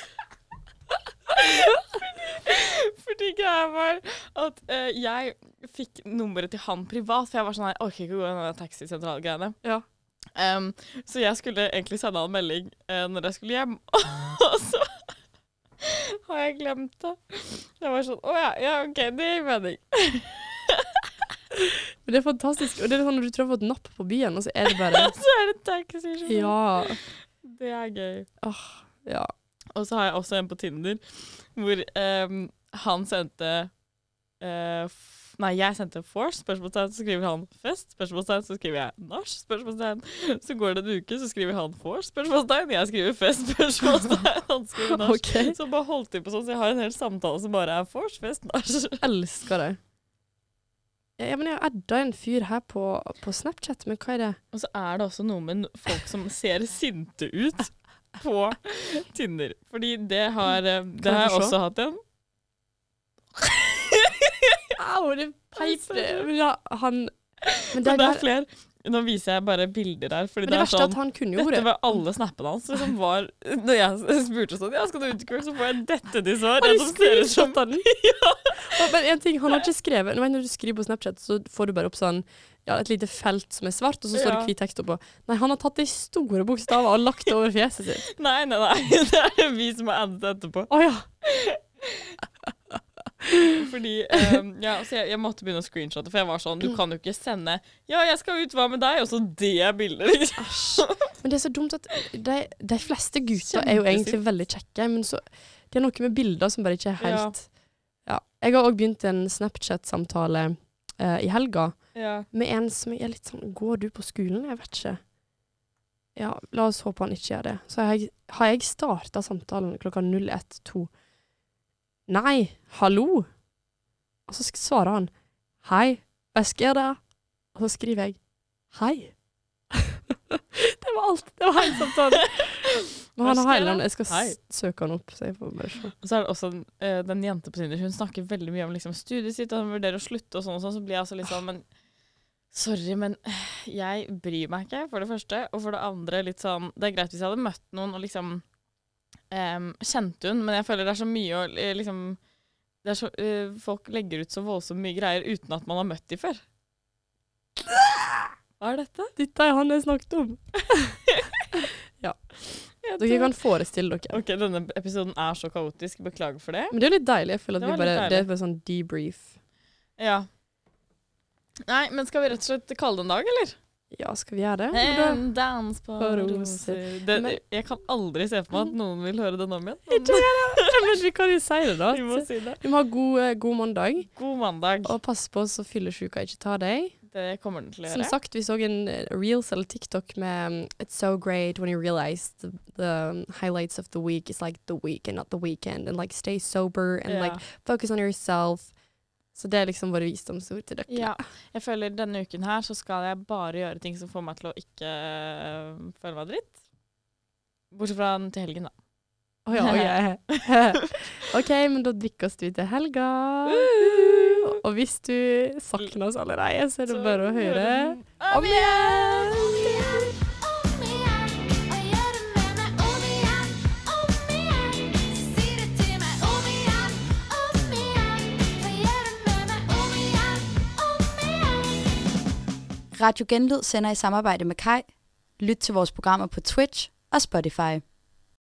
B: Fordi greia var at eh, jeg fikk nummeret til han privat, for jeg var sånn her, orker ikke å gå i den taxisentral-greiene.
A: Ja.
B: Em, så jeg skulle egentlig sende han melding eh, når jeg skulle hjem, og så har jeg glemt det. Jeg var sånn, å ja, ja, ok, det gir mening.
A: Men det er fantastisk. Og det er sånn når du tror du har fått napp på byen, og så er det bare
B: Så er det taxi.
A: Ja.
B: Det er gøy.
A: Åh, ja.
B: Og så har jeg også en på Tinder, hvor em, han sendte eh, f Nei, jeg sendte force, spørsmålstegn, så skriver han fest, spørsmålstegn, så skriver jeg nach, spørsmålstegn. Så går det en uke, så skriver han force, spørsmålstegn, jeg skriver fest, spørsmålstegn, han skriver nach.
A: Ok.
B: Så bare holdt de på sånn, så jeg har en hel samtale som bare er force, fest, nach.
A: Elsker det. Ja, ja, men jeg adda en fyr her på, på Snapchat, men hva er det?
B: Og så er det også noe med no- folk som ser sinte ut på Tinder. Fordi det har, eh, det
A: jeg
B: har
A: få
B: jeg
A: se?
B: også hatt en.
A: Au, det peip Men ja, han Men det,
B: Men det
A: der,
B: er flere. Nå viser jeg bare bilder her. Fordi
A: men det
B: det er
A: verste er at
B: sånn,
A: han kunne jo
B: dette
A: ordet.
B: var alle snappene hans. Liksom var, når jeg spurte sånn, ja, skal du ut i kveld, så får jeg dette de svar.
A: Har
B: En
A: du
B: som ser ut som
A: Og bare en ting, han har ikke skrevet Nå vet jeg Når du skriver på Snapchat, så får du bare opp sånn ja, et lite felt som er svart, og så står
B: Ja.
A: det hvit tekst oppå. Nei, han har tatt det i store bokstaver og lagt det over fjeset sitt.
B: Nei, nei, nei. Det er vi som har addet etterpå.
A: Å ja.
B: Fordi ehm, ja, så jeg, jeg måtte begynne å screenshotte, for jeg var sånn, du
A: Mm.
B: kan jo ikke sende Ja, jeg skal ut, hva med deg? Og så det bildet, liksom.
A: Men det er så dumt at de, de fleste gutter er jo
B: Kjempesint.
A: egentlig veldig kjekke, men så Det er noe med bilder som bare ikke er
B: Ja.
A: helt Ja. Jeg har òg begynt en Snapchat-samtale eh, i helga
B: Ja.
A: med en som jeg er litt sånn Går du på skolen? Jeg vet ikke. Ja, la oss håpe han ikke gjør det. Så har jeg, har jeg starta samtalen klokka 01.02. Nei, hallo? Og så sk- svarer han hei, hva skjer der? Og så skriver jeg hei. det var alt. Det var hele samtalen. Men han
B: Hva
A: har
B: skjer
A: hele
B: da?
A: Jeg skal
B: Hei.
A: s- søke han opp, så jeg får bare se.
B: Og så er det også en, eh, den jente på Tinder, hun snakker veldig mye om liksom, studiet sitt, og hun vurderer å slutte og sånn, og sånn, så blir jeg altså litt sånn, men sorry, men eh, jeg bryr meg ikke, for det første, og for det andre litt sånn, det er greit hvis jeg hadde møtt noen og liksom em, kjente hun, men jeg føler det er så mye å eh, liksom, det er så, eh, folk legger ut så voldsomt mye greier uten at man har møtt de før. Hva er dette?
A: Dette er han jeg snakket om.
B: Jeg
A: Dere
B: tror-
A: kan forestille dere.
B: Ok, denne episoden er så kaotisk, beklager for det.
A: Men det er jo litt deilig. Jeg føler at
B: Det
A: det vi
B: var litt
A: bare, det
B: deilig.
A: er bare sånn debrief.
B: Ja. Nei, men skal vi rett og slett kalle det en dag, eller?
A: Ja, skal vi gjøre det?
B: En dans på
A: på roser.
B: roser det,
A: Men-
B: Jeg kan aldri se for meg at noen vil høre den om igjen.
A: Men vi kan jo si det, da.
B: Vi må si det.
A: Du må ha god, eh, god mandag,
B: God mandag.
A: og pass på så fyllesyka ikke tar deg.
B: Det kommer den til å
A: Som
B: gjøre.
A: sagt, vi så en eh, reels eller TikTok med um, It's so great when you realize the, the um, highlights of the week is like the week and not the weekend. And like stay sober and
B: Ja.
A: like focus on yourself. Så det er liksom våre visdomsord til dere.
B: ja. Jeg føler denne uken her så skal jeg bare gjøre ting som får meg til å ikke øh, føle meg dritt. Bortsett fra den til helgen, da.
A: Å ja, å ja. OK, men da drikkes vi til helga. Og hvis du savner oss allerede, så er det
B: Så
A: bare å
B: gjør
A: høre.
B: den.
A: Om igjen!
C: Om igjen, og gjør det med meg om igjen, om igjen. Si det til meg om igjen, om igjen, og gjør det med meg om igjen, om igjen.
F: Radio Genlyd sender i samarbejde med Kai. Lyt til vores programmer på Twitch og Spotify.